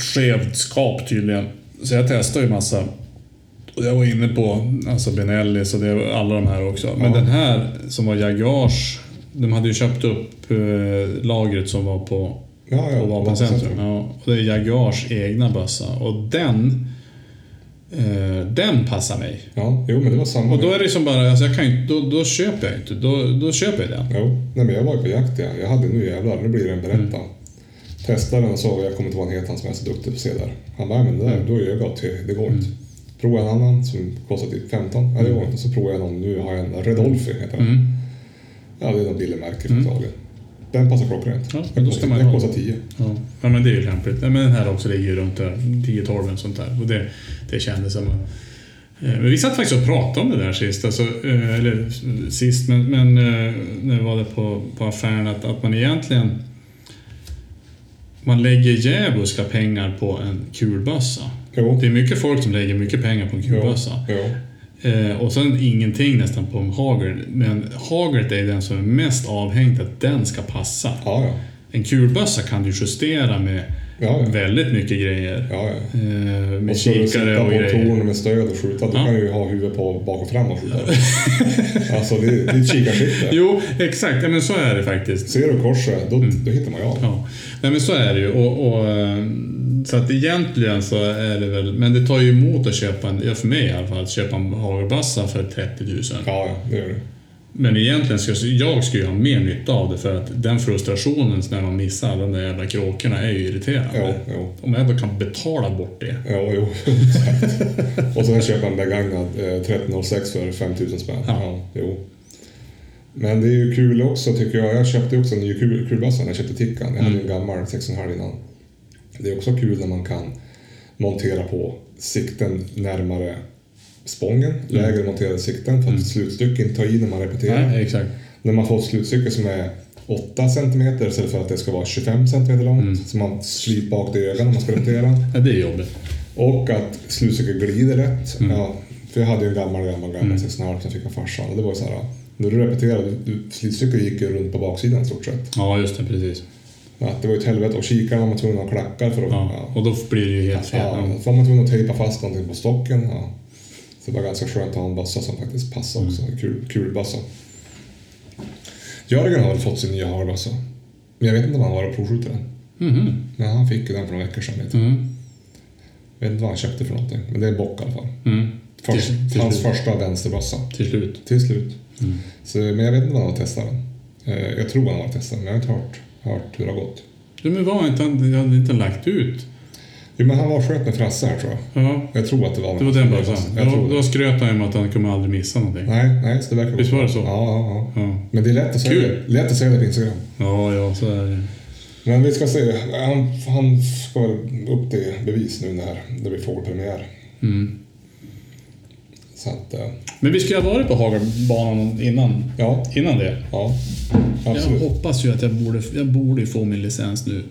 Speaker 1: skevt skap tydligen. Så jag testar ju massa. Och jag var inne på alltså Benelli och det, var alla de här också. Men
Speaker 2: Ja.
Speaker 1: den här som var Jaguars. De hade ju köpt upp eh, lagret som var på
Speaker 2: Ja, ja,
Speaker 1: på Vapencentrum. Ja, och det är Jaguars egna bössa. Och den... Eh, den passar mig.
Speaker 2: Ja, jo men det var samma.
Speaker 1: Och då är det som bara, alltså jag kan ju, inte- då, då köper jag inte. Då, då köper jag den.
Speaker 2: Jo, nej men jag var ju på jakt ja. Jag hade nu jävlar, nu blir det en berätta.
Speaker 1: Mm.
Speaker 2: Testade den och sa jag kommer inte vara en helt han som är så duktig på sedlar. Han bara, "Nej, men det
Speaker 1: Mm.
Speaker 2: där, då är jag gott till, det går inte. Provade en annan som kostar typ 15, ja det går inte. Så provade jag någon, nu har jag en Redolfi heter den.
Speaker 1: Mm.
Speaker 2: Ja, det är något billigt märke från Italien. Den passar klockrent.
Speaker 1: Ja, men
Speaker 2: den
Speaker 1: då ska man
Speaker 2: kostar, den
Speaker 1: ha-
Speaker 2: kostar 10.
Speaker 1: Ja. ja, men det är ju lämpligt. Ja, men den här också ligger ju runt där, 10-12 eller sånt där. Och det, det kändes som... Eh, Men vi satt faktiskt och pratade om det där sist, alltså, eh, eller sist, men, men eh, när vi var där på, på affären, att, att man egentligen... Man lägger djävulska pengar på en kulbössa.
Speaker 2: Jo.
Speaker 1: Det är mycket folk som lägger mycket pengar på en
Speaker 2: Jo,
Speaker 1: kulbössa.
Speaker 2: jo.
Speaker 1: Eh, och sen ingenting nästan på Hagert. Men Hagert är den som är mest avhängigt att den ska passa.
Speaker 2: Ja, ja.
Speaker 1: En kulbössa kan du justera med
Speaker 2: Ja, ja.
Speaker 1: väldigt mycket grejer.
Speaker 2: ja, ja.
Speaker 1: Eh, med
Speaker 2: Och så du
Speaker 1: kikare
Speaker 2: sitta
Speaker 1: och
Speaker 2: på
Speaker 1: grejer.
Speaker 2: torn med stöd och skjuta, då
Speaker 1: Ja.
Speaker 2: kan du ju ha huvudet på bak och fram och skjuta. alltså det är det är ett kikarsikte.
Speaker 1: Jo, exakt. Ja, men så är det faktiskt.
Speaker 2: Ser du korset, då,
Speaker 1: Mm.
Speaker 2: då hittar man ju av.
Speaker 1: Ja. Nej, men så är det ju. Och, och, eh, så att egentligen så är det väl... Men det tar ju emot att köpa en, ja, för mig i alla fall, att köpa en Hagerbössa för 30 000.
Speaker 2: Ja, ja, det gör du.
Speaker 1: Men egentligen ska jag skulle ju ha mer nytta av det för att den frustrationen när man missar alla de där jävla kråkorna är ju
Speaker 2: Jo,
Speaker 1: irriterande.
Speaker 2: jo.
Speaker 1: Om jag då kan betala bort det.
Speaker 2: Jo, jo. exakt. och sen köpa en begagnad eh, 1306 för 5000 spänn.
Speaker 1: Ja.
Speaker 2: Ja. jo. Men det är ju kul också tycker jag. Jag köpte ju också en ny kul- kulbössa när jag köpte Tickan. Jag hade ju
Speaker 1: Mm.
Speaker 2: en gammal 6,5 innan. Det är också kul när man kan montera på sikten närmare spången.
Speaker 1: Mm.
Speaker 2: Lägre monterade sikten för att slutstycken tar i när man repeterar.
Speaker 1: Nej, exakt.
Speaker 2: När man får ett slutstycke som är 8 cm istället för att det ska vara 25 cm långt. Så man slipar bak det i ögonen när man ska repetera.
Speaker 1: Ja, det är jobbigt.
Speaker 2: Och att slutstycket glider rätt. Ja, för jag hade ju en gammal, gammal, gammal mm. 6,5 som jag fick av farsan. Och det var ju så här, ja, när du repeterade, du- slutstycket gick ju runt på baksidan i stort sett.
Speaker 1: Ja, just det. Precis.
Speaker 2: Ja, det var ju ett helvete. Och kikarna var man tvungen att ha klackar för att...
Speaker 1: Ja.
Speaker 2: Ja.
Speaker 1: Och då blir det ju helt fel.
Speaker 2: Ja,
Speaker 1: Ja.
Speaker 2: då var man tvungen att tejpa fast någonting på stocken. Ja. Så det var ganska skönt att ha en bössa som faktiskt passade också.
Speaker 1: Mm.
Speaker 2: Kul, kul bössa. Jörgen har väl fått sin nya hagelbössa. Men jag vet inte om han var och provskjutade den.
Speaker 1: Mhm.
Speaker 2: Men han fick ju den för några veckor sedan. Vet jag.
Speaker 1: Mm.
Speaker 2: Jag vet inte vad han köpte för någonting. Men det är bock i alla fall.
Speaker 1: Mm.
Speaker 2: Först,
Speaker 1: Till- till
Speaker 2: hans
Speaker 1: slut.
Speaker 2: första vänsterbössa.
Speaker 1: Till Mm. slut.
Speaker 2: Till slut. Så, men jag vet inte om han har testat den. Eh, Jag tror han har testat den, men jag har inte hört, hört hur det har gått.
Speaker 1: Ja, men var inte han... Jag hade inte lagt ut.
Speaker 2: Jo, men han var och sköt med Frasse här tror jag.
Speaker 1: Ja.
Speaker 2: Jag tror att det var
Speaker 1: Det var den bössan.
Speaker 2: Jag tror
Speaker 1: Då, då
Speaker 2: det.
Speaker 1: skröt han ju om att han kommer aldrig missa någonting.
Speaker 2: Nej, nej, så det verkar gå
Speaker 1: Visst var det så?
Speaker 2: bra. Ja, ja, ja.
Speaker 1: Ja,
Speaker 2: Men det är lätt att säga,
Speaker 1: Kul.
Speaker 2: det. lätt att säga det på Instagram.
Speaker 1: ja, ja så är det.
Speaker 2: Men vi ska se. Han, han ska väl upp till bevis nu när det blir fågelpremiär.
Speaker 1: Mm.
Speaker 2: Så att, eh,
Speaker 1: Men vi skulle ha varit på Hagerbanan innan,
Speaker 2: ja,
Speaker 1: innan det.
Speaker 2: ja.
Speaker 1: Jag
Speaker 2: Absolut.
Speaker 1: hoppas ju att jag borde, jag borde ju få min licens nu.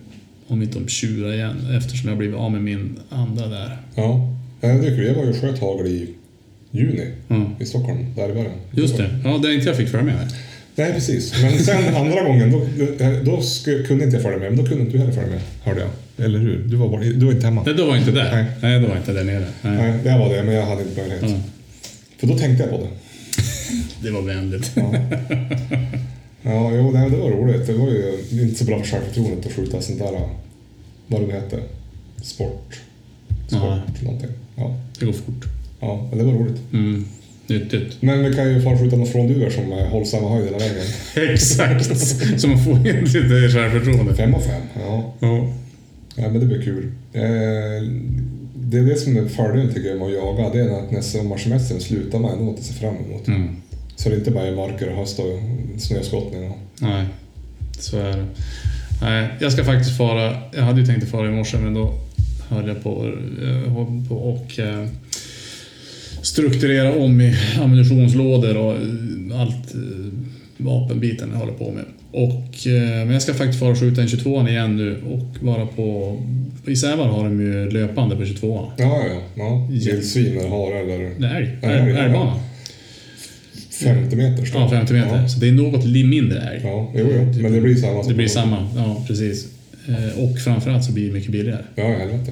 Speaker 1: Om inte de tjurar igen eftersom jag blivit av med min andra där.
Speaker 2: Ja. Eh, Nej, det är kul. Jag var ju och sköt hagel i juni
Speaker 1: Mm.
Speaker 2: i Stockholm, där i början.
Speaker 1: Just det. Ja, det är inte jag fick följa med. här.
Speaker 2: Nej, precis. Men sen andra gången, då, eh, då sk- kunde inte jag följa med. Men då kunde inte du heller följa med, hörde jag. Eller hur? Du var, bara, du var inte hemma.
Speaker 1: Nej, då var jag inte där. Nej,
Speaker 2: Nej.
Speaker 1: då var jag inte där nere. Nej.
Speaker 2: Nej, det var det, men jag hade inte möjlighet.
Speaker 1: Mm.
Speaker 2: För då tänkte jag på det.
Speaker 1: Det var vänligt.
Speaker 2: Ja, ja jo, nej, det var roligt. Det var ju inte så bra för självförtroendet att skjuta sånt där, vad det nu hette, sport. Sport, någonting. Ja.
Speaker 1: Det går fort.
Speaker 2: ja, men det var roligt.
Speaker 1: Mm. Nyttigt.
Speaker 2: Men vi kan ju fan skjuta någon frånduvor som eh, håller samma höjd hela vägen.
Speaker 1: Exakt. Så man får in lite självförtroende.
Speaker 2: Fem av fem, ja.
Speaker 1: Ja.
Speaker 2: Ja, men det blir kul. Eh, det är det som är fördelen tycker jag med att jaga. Det är att när sommarsemestern slutar man ändå något att se fram emot.
Speaker 1: Mm.
Speaker 2: Så det inte bara är mörker och höst och snöskottning. Och...
Speaker 1: Nej, så är det. Nej, jag ska faktiskt fara. Jag hade ju tänkt att fara i morse, men då höll jag på, eh, på och eh, strukturera om i ammunitionslådor och eh, allt eh, vapenbiten jag håller på med. Och, eh, men jag ska faktiskt fara och skjuta en 22 igen nu och vara på... I Sävar har de ju löpande på 22
Speaker 2: Ja, ja, ja.
Speaker 1: Ja.
Speaker 2: Vildsvin eller hare eller
Speaker 1: Nej,
Speaker 2: Ja,
Speaker 1: älg.
Speaker 2: ja, ja.
Speaker 1: Älgbana.
Speaker 2: 50 meter. står
Speaker 1: Ja,
Speaker 2: det.
Speaker 1: 50 meter.
Speaker 2: Ja,
Speaker 1: Så det är något li- mindre älg.
Speaker 2: ja jo, jo. men det blir samma.
Speaker 1: Det blir samma, ja precis. Eh, Och framförallt så blir det mycket billigare.
Speaker 2: Ja, helvete.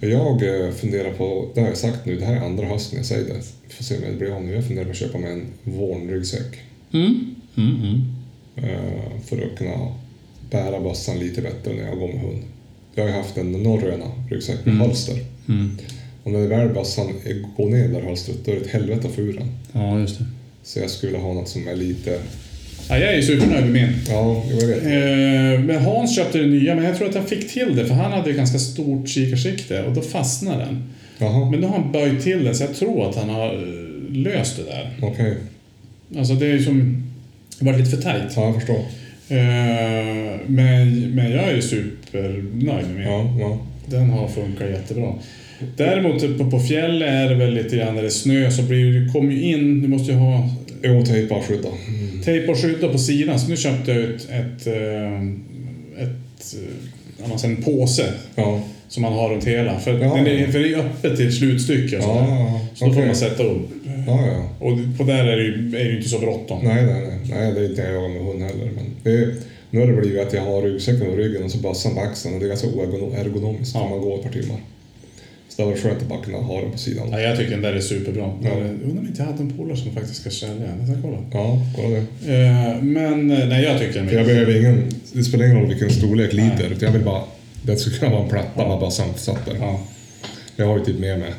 Speaker 2: Jag eh, funderar på, det har jag sagt nu, det här är andra hösten jag säger det. Får se om jag blir av nu. Jag funderar på att köpa mig en Vaughan-ryggsäck.
Speaker 1: Mm. Mm, mm.
Speaker 2: eh, För att kunna bära bössan lite bättre när jag går med hund. Jag har ju haft en norröna ryggsäck med halster.
Speaker 1: Mm.
Speaker 2: Och när väl bössan är- går ner där halstret, då är det ett helvete att få ur den.
Speaker 1: Ja, just det.
Speaker 2: Så jag skulle ha något som är lite...
Speaker 1: Ja, jag är ju supernöjd med min.
Speaker 2: Ja, jo, jag vet.
Speaker 1: Eh, Men Hans köpte den nya, men jag tror att han fick till det för han hade ju ganska stort kikarsikte och då fastnade den.
Speaker 2: Jaha,
Speaker 1: Men då har han böjt till den så jag tror att han har eh, löst det där.
Speaker 2: okej.
Speaker 1: Alltså det är ju som... Det varit lite för tajt.
Speaker 2: Ja, jag förstår.
Speaker 1: Eh, Men, men jag är ju supernöjd med min.
Speaker 2: Ja, ja.
Speaker 1: Den har funkat jättebra. Däremot eh, på, på fjället är det väl lite grann när det är snö så blir det, kommer ju in, du måste ju ha
Speaker 2: Jo, tejpa och skydda.
Speaker 1: tejp och skydda på sidan. Så nu köpte jag ut ett, eh, ett, eh, alltså en påse
Speaker 2: Ja,
Speaker 1: som man har runt hela. För,
Speaker 2: Ja.
Speaker 1: den är, för det är öppet till ett slutstycke. och
Speaker 2: ja,
Speaker 1: sådär.
Speaker 2: ja.
Speaker 1: Så då får
Speaker 2: okej.
Speaker 1: man sätta upp.
Speaker 2: Ja, ja.
Speaker 1: Och på där är det ju, är det ju inte så bråttom.
Speaker 2: Nej, nej, nej. nej det är inte jag med hund heller. Men det är, nu har det blivit att jag har ryggsäcken på ryggen och så bössan på axeln och det är ganska oergonomiskt
Speaker 1: Ja.
Speaker 2: när man går ett par timmar. Så det var skönt att bara kunna ha den på sidan.
Speaker 1: Ja, jag tycker den där är superbra.
Speaker 2: Ja.
Speaker 1: Ja. Undrar om inte jag hade en polare som faktiskt ska sälja den. Jag ska kolla.
Speaker 2: Ja, kolla det.
Speaker 1: Eh, men eh, nej, jag tycker den
Speaker 2: För jag behöver ingen, det spelar ingen roll vilken storlek liter,
Speaker 1: Nej.
Speaker 2: utan jag vill bara, det skulle kunna vara en platta med bössan satt där.
Speaker 1: Ja.
Speaker 2: Jag har ju typ med mig,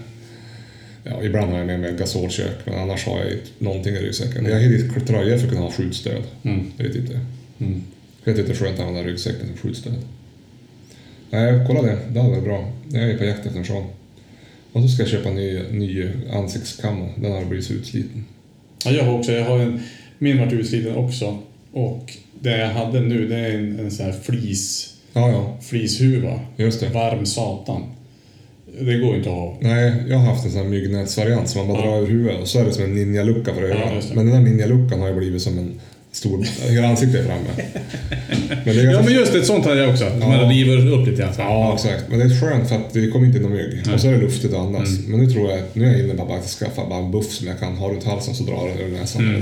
Speaker 2: ja ibland har jag med mig gasolkök, men annars har jag inte någonting i ryggsäcken. Jag har hittat tröjor för att kunna ha skjutstöd.
Speaker 1: Mm.
Speaker 2: Det är typ det.
Speaker 1: Mm.
Speaker 2: Jag tyckte det var skönt att använda ryggsäcken som skjutstöd. Nej, kolla det. Det hade varit bra. Jag är på jakt efter en sån. Och så ska jag köpa en ny, ny ansiktskamma. Den har blivit så utsliten.
Speaker 1: Ja, jag har också. Jag har en, min vart utsliten också. Och det jag hade nu, det är en, en sån här flis,
Speaker 2: Ja, ja.
Speaker 1: flishuva.
Speaker 2: Just det.
Speaker 1: Varm satan. Det går inte att ha.
Speaker 2: Nej, jag har haft en sån här myggnätsvariant som man bara
Speaker 1: Ja.
Speaker 2: drar ur huvudet och så är det som en ninjalucka för
Speaker 1: Ja,
Speaker 2: ögonen.
Speaker 1: just det.
Speaker 2: men den där ninjaluckan har ju blivit som en stor... Hela ansiktet är framme. Men det är
Speaker 1: Ja,
Speaker 2: ganska-
Speaker 1: men just det. Ett sånt hade jag också. Man river upp lite grann. så här.
Speaker 2: Ja, exakt. Men det är skönt för att det kommer inte in någon mygg. Och så är det luftigt att andas.
Speaker 1: Mm.
Speaker 2: Men nu tror jag att nu är jag inne på att faktiskt skaffa bara en buff som jag kan ha runt halsen så drar den över näsan. Mm.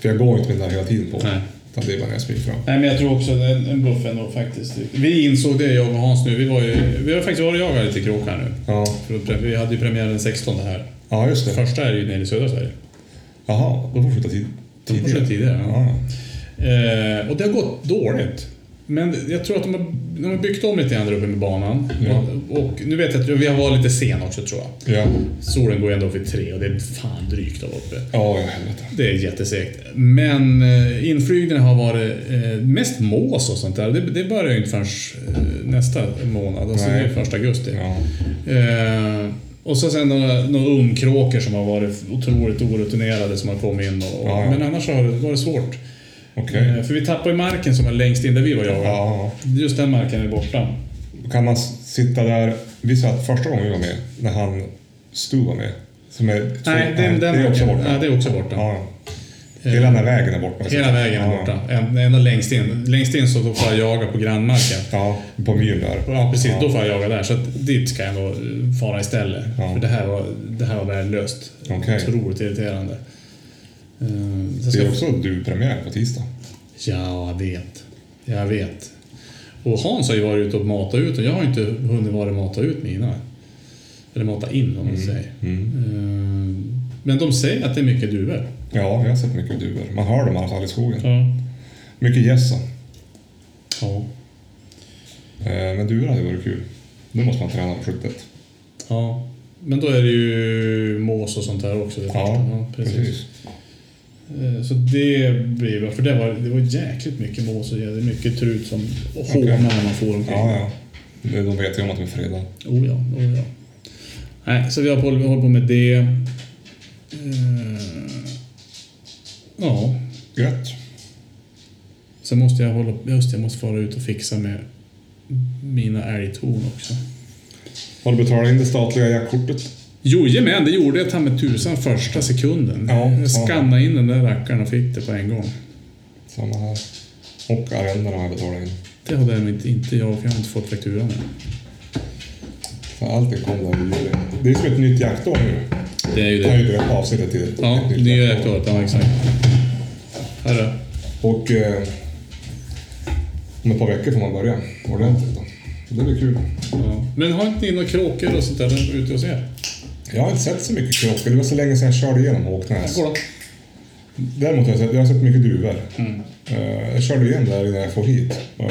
Speaker 2: För jag går inte med den där hela tiden på.
Speaker 1: Nej.
Speaker 2: Utan det är bara när jag smyger fram.
Speaker 1: Nej, men jag tror också att en, en buff ändå faktiskt. Vi insåg det, jag och Hans nu. Vi, var ju, vi har faktiskt varit och jagat lite kråk här nu.
Speaker 2: Ja,
Speaker 1: För att pre- Vi hade ju premiär den 16 här.
Speaker 2: ja just det.
Speaker 1: Första är ju nere i södra Sverige.
Speaker 2: Jaha, då får vi skjuta tid.
Speaker 1: De får köra tidigare. Ja.
Speaker 2: Ja.
Speaker 1: Eh, och det har gått dåligt. Men jag tror att de har, de har byggt om lite grann där uppe med banan.
Speaker 2: Ja.
Speaker 1: Och, och nu vet jag att vi har varit lite sen också tror jag.
Speaker 2: Ja,
Speaker 1: Solen går ändå upp vid tre och det är fan drygt där uppe.
Speaker 2: ja, ja, helvete.
Speaker 1: Det är jättesegt. Men eh, inflygningen har varit eh, mest mås och sånt där. Det, det börjar ju inte förrän eh, nästa månad. Alltså
Speaker 2: Nej.
Speaker 1: det är första augusti.
Speaker 2: Ja.
Speaker 1: Eh, och så sen några, några ungkråkor som har varit otroligt orutinerade som har kommit in. Och, och,
Speaker 2: Ja, ja.
Speaker 1: Men annars har det varit svårt.
Speaker 2: Okej.
Speaker 1: Eh, För vi tappar ju marken som var längst in där vi var jag.
Speaker 2: Ja.
Speaker 1: Just den marken är borta.
Speaker 2: Kan man s- sitta där... Vi satt första gången vi var med, när han Stu var med. Som är...
Speaker 1: Nej, den, den
Speaker 2: det är också
Speaker 1: marken- Ja,
Speaker 2: borta.
Speaker 1: det är också borta. Eh,
Speaker 2: Ja. Hela den här vägen är borta.
Speaker 1: Hela vägen är
Speaker 2: Ja.
Speaker 1: borta. En- Ända längst in. Längst in så då får jag jaga på grannmarken.
Speaker 2: Ja, på myren där.
Speaker 1: Ja, precis. Då får jag jaga där. Så att dit ska jag nog eh, fara istället.
Speaker 2: Ja.
Speaker 1: För det här var, det här var värdelöst.
Speaker 2: Okej.
Speaker 1: Otroligt irriterande. Eh, så
Speaker 2: Det
Speaker 1: ska
Speaker 2: är
Speaker 1: jag...
Speaker 2: också du-premiär på tisdag.
Speaker 1: Ja, jag vet. Jag vet. Och Hans har ju varit ute och matat ut och jag har inte hunnit vara och mata ut mina. Eller mata in om man
Speaker 2: Mm,
Speaker 1: säger. Eh, Men de säger att det är mycket duvor.
Speaker 2: Ja, jag har sett mycket duvor. Man hör dem i alla fall i skogen.
Speaker 1: Ja.
Speaker 2: Mycket gäss. då.
Speaker 1: Ja.
Speaker 2: Eh, Men duvor hade varit kul. Nu måste man träna på skyttet.
Speaker 1: ja. Men då är det ju mås och sånt där också. Det första. Ja, precis. Eh, Så det blir bra. För det var, det var jäkligt mycket mås och jävligt mycket trut som och
Speaker 2: Okej.
Speaker 1: hånar när man får omkring.
Speaker 2: Ja, ja. Det- De vet ju om att de är fredade.
Speaker 1: Oh ja, oh ja. Nej, så vi har på, vi håller på med det. Eh, ja,
Speaker 2: Gött.
Speaker 1: Sen måste jag hålla... Just det, jag måste fara ut och fixa med mina älgtorn också.
Speaker 2: Har du betalat in det statliga jaktkortet?
Speaker 1: Jojomän, det gjorde jag ta med tusan första sekunden.
Speaker 2: Ja,
Speaker 1: jag
Speaker 2: ja.
Speaker 1: skannade in den där rackaren och fick det på en gång.
Speaker 2: Samma här. Och arrendena har jag betalat in.
Speaker 1: Det har däremot inte jag, för jag har inte fått fakturan än.
Speaker 2: Så allting kom där i juli. Det är som ett nytt jaktår nu.
Speaker 1: Det är ju
Speaker 2: Jag har ju döpt avsnittet till
Speaker 1: Ja,
Speaker 2: ett nytt
Speaker 1: nya jaktåret. Ja, exakt. Här då.
Speaker 2: Och eh, om ett par veckor får man börja ordentligt då. Det blir kul.
Speaker 1: Ja. Men har inte ni några kråkor och sånt där ute hos er?
Speaker 2: Jag har inte sett så mycket kråkor. Det var så länge sedan jag körde igenom Håknäs.
Speaker 1: Kolla.
Speaker 2: Däremot har jag sett, jag har sett mycket duvor.
Speaker 1: Mm.
Speaker 2: Eh, jag körde igen där innan jag får hit. Eh,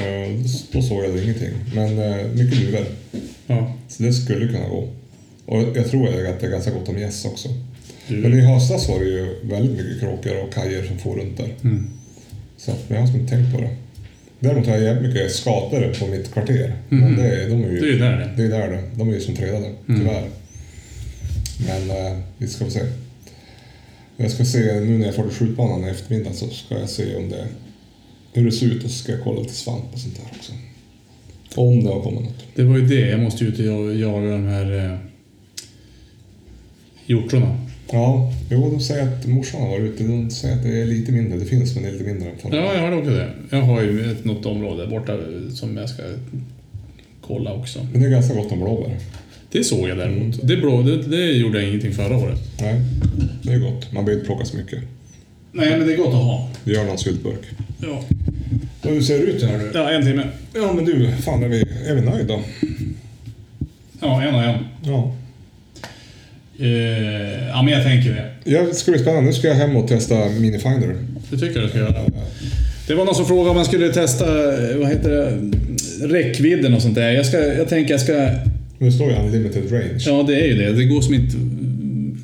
Speaker 2: då såg jag ingenting. Men eh, mycket duvor.
Speaker 1: Ja.
Speaker 2: Så det skulle kunna gå. Och jag tror att det är ganska gott om gäss också.
Speaker 1: Mm. Du.
Speaker 2: Men i höstas var det ju väldigt mycket kråkor och kajer som for runt där.
Speaker 1: Mm.
Speaker 2: Så att, men jag har inte tänkt på det. Däremot har jag jävligt mycket skatare på mitt kvarter. Men det, är- de är ju,
Speaker 1: Mm. Det är ju där det.
Speaker 2: det är där det. De är ju som fredade, tyvärr. Men eh, vi ska få se. Jag ska se, nu när jag får till skjutbanan i eftermiddag så ska jag se om det, hur det ser ut och så ska jag kolla lite svamp och sånt där också. Om det har kommit något.
Speaker 1: Det var ju det, jag måste ju ut och jag- jaga de här eh, hjortronen.
Speaker 2: Ja, jo, de säger att morsan har varit ute. De säger att det är lite mindre. Det finns, men det är lite mindre än förra.
Speaker 1: Ja, jag har också det. Jag har ju ett, något område borta eh, som jag ska kolla också.
Speaker 2: Men det är ganska gott om blåbär.
Speaker 1: Det såg jag däremot. Det, blå, det, det gjorde jag ingenting förra året.
Speaker 2: Nej, det är gott. Man behöver inte plocka så mycket.
Speaker 1: Nej, men det är gott att ha.
Speaker 2: Det gör någon syltburk.
Speaker 1: Ja,
Speaker 2: Och hur ser det ut här nu?
Speaker 1: ja en timme.
Speaker 2: Ja, men du, fan är vi, är vi nöjda?
Speaker 1: Ja, en och en.
Speaker 2: Ja.
Speaker 1: Eh, ja, men jag tänker det.
Speaker 2: ja. Det ska bli spännande. Nu ska jag hem och testa Minifinder.
Speaker 1: Det tycker jag du ska göra. Det var någon som frågade om man skulle testa, eh, vad heter det, räckvidden och sånt där. Jag, ska, jag tänker jag ska...
Speaker 2: Nu står ju Unlimited Range.
Speaker 1: Ja, det är ju det. Det går som inte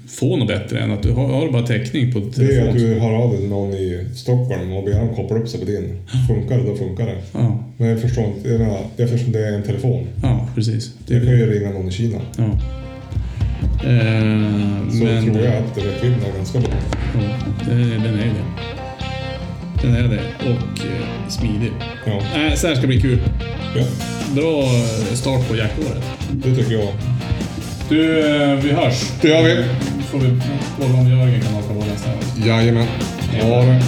Speaker 1: få något bättre än att du har, har du bara täckning på
Speaker 2: Det är att
Speaker 1: telefon.
Speaker 2: du hör av dig till någon i Stockholm och ber dem koppla upp sig på din. Funkar det, då funkar det.
Speaker 1: Ja,
Speaker 2: Men jag förstår inte, jag menar, eftersom det är en telefon.
Speaker 1: ja, precis. Det,
Speaker 2: Jag kan ju ringa någon i Kina.
Speaker 1: ja. Eh,
Speaker 2: Så
Speaker 1: men,
Speaker 2: tror jag att räckvidden är ganska bra.
Speaker 1: Ja, det, den är det. Den är det. Och eh, smidig.
Speaker 2: Ja.
Speaker 1: Nej, så här ska bli kul.
Speaker 2: ja,
Speaker 1: Bra start på jaktåret.
Speaker 2: det tycker jag.
Speaker 1: Du, eh, vi hörs. Eh,
Speaker 2: Det gör vi.
Speaker 1: Får vi kolla om Jörgen kan haka på nästa gång.
Speaker 2: Jajamän. Ha det.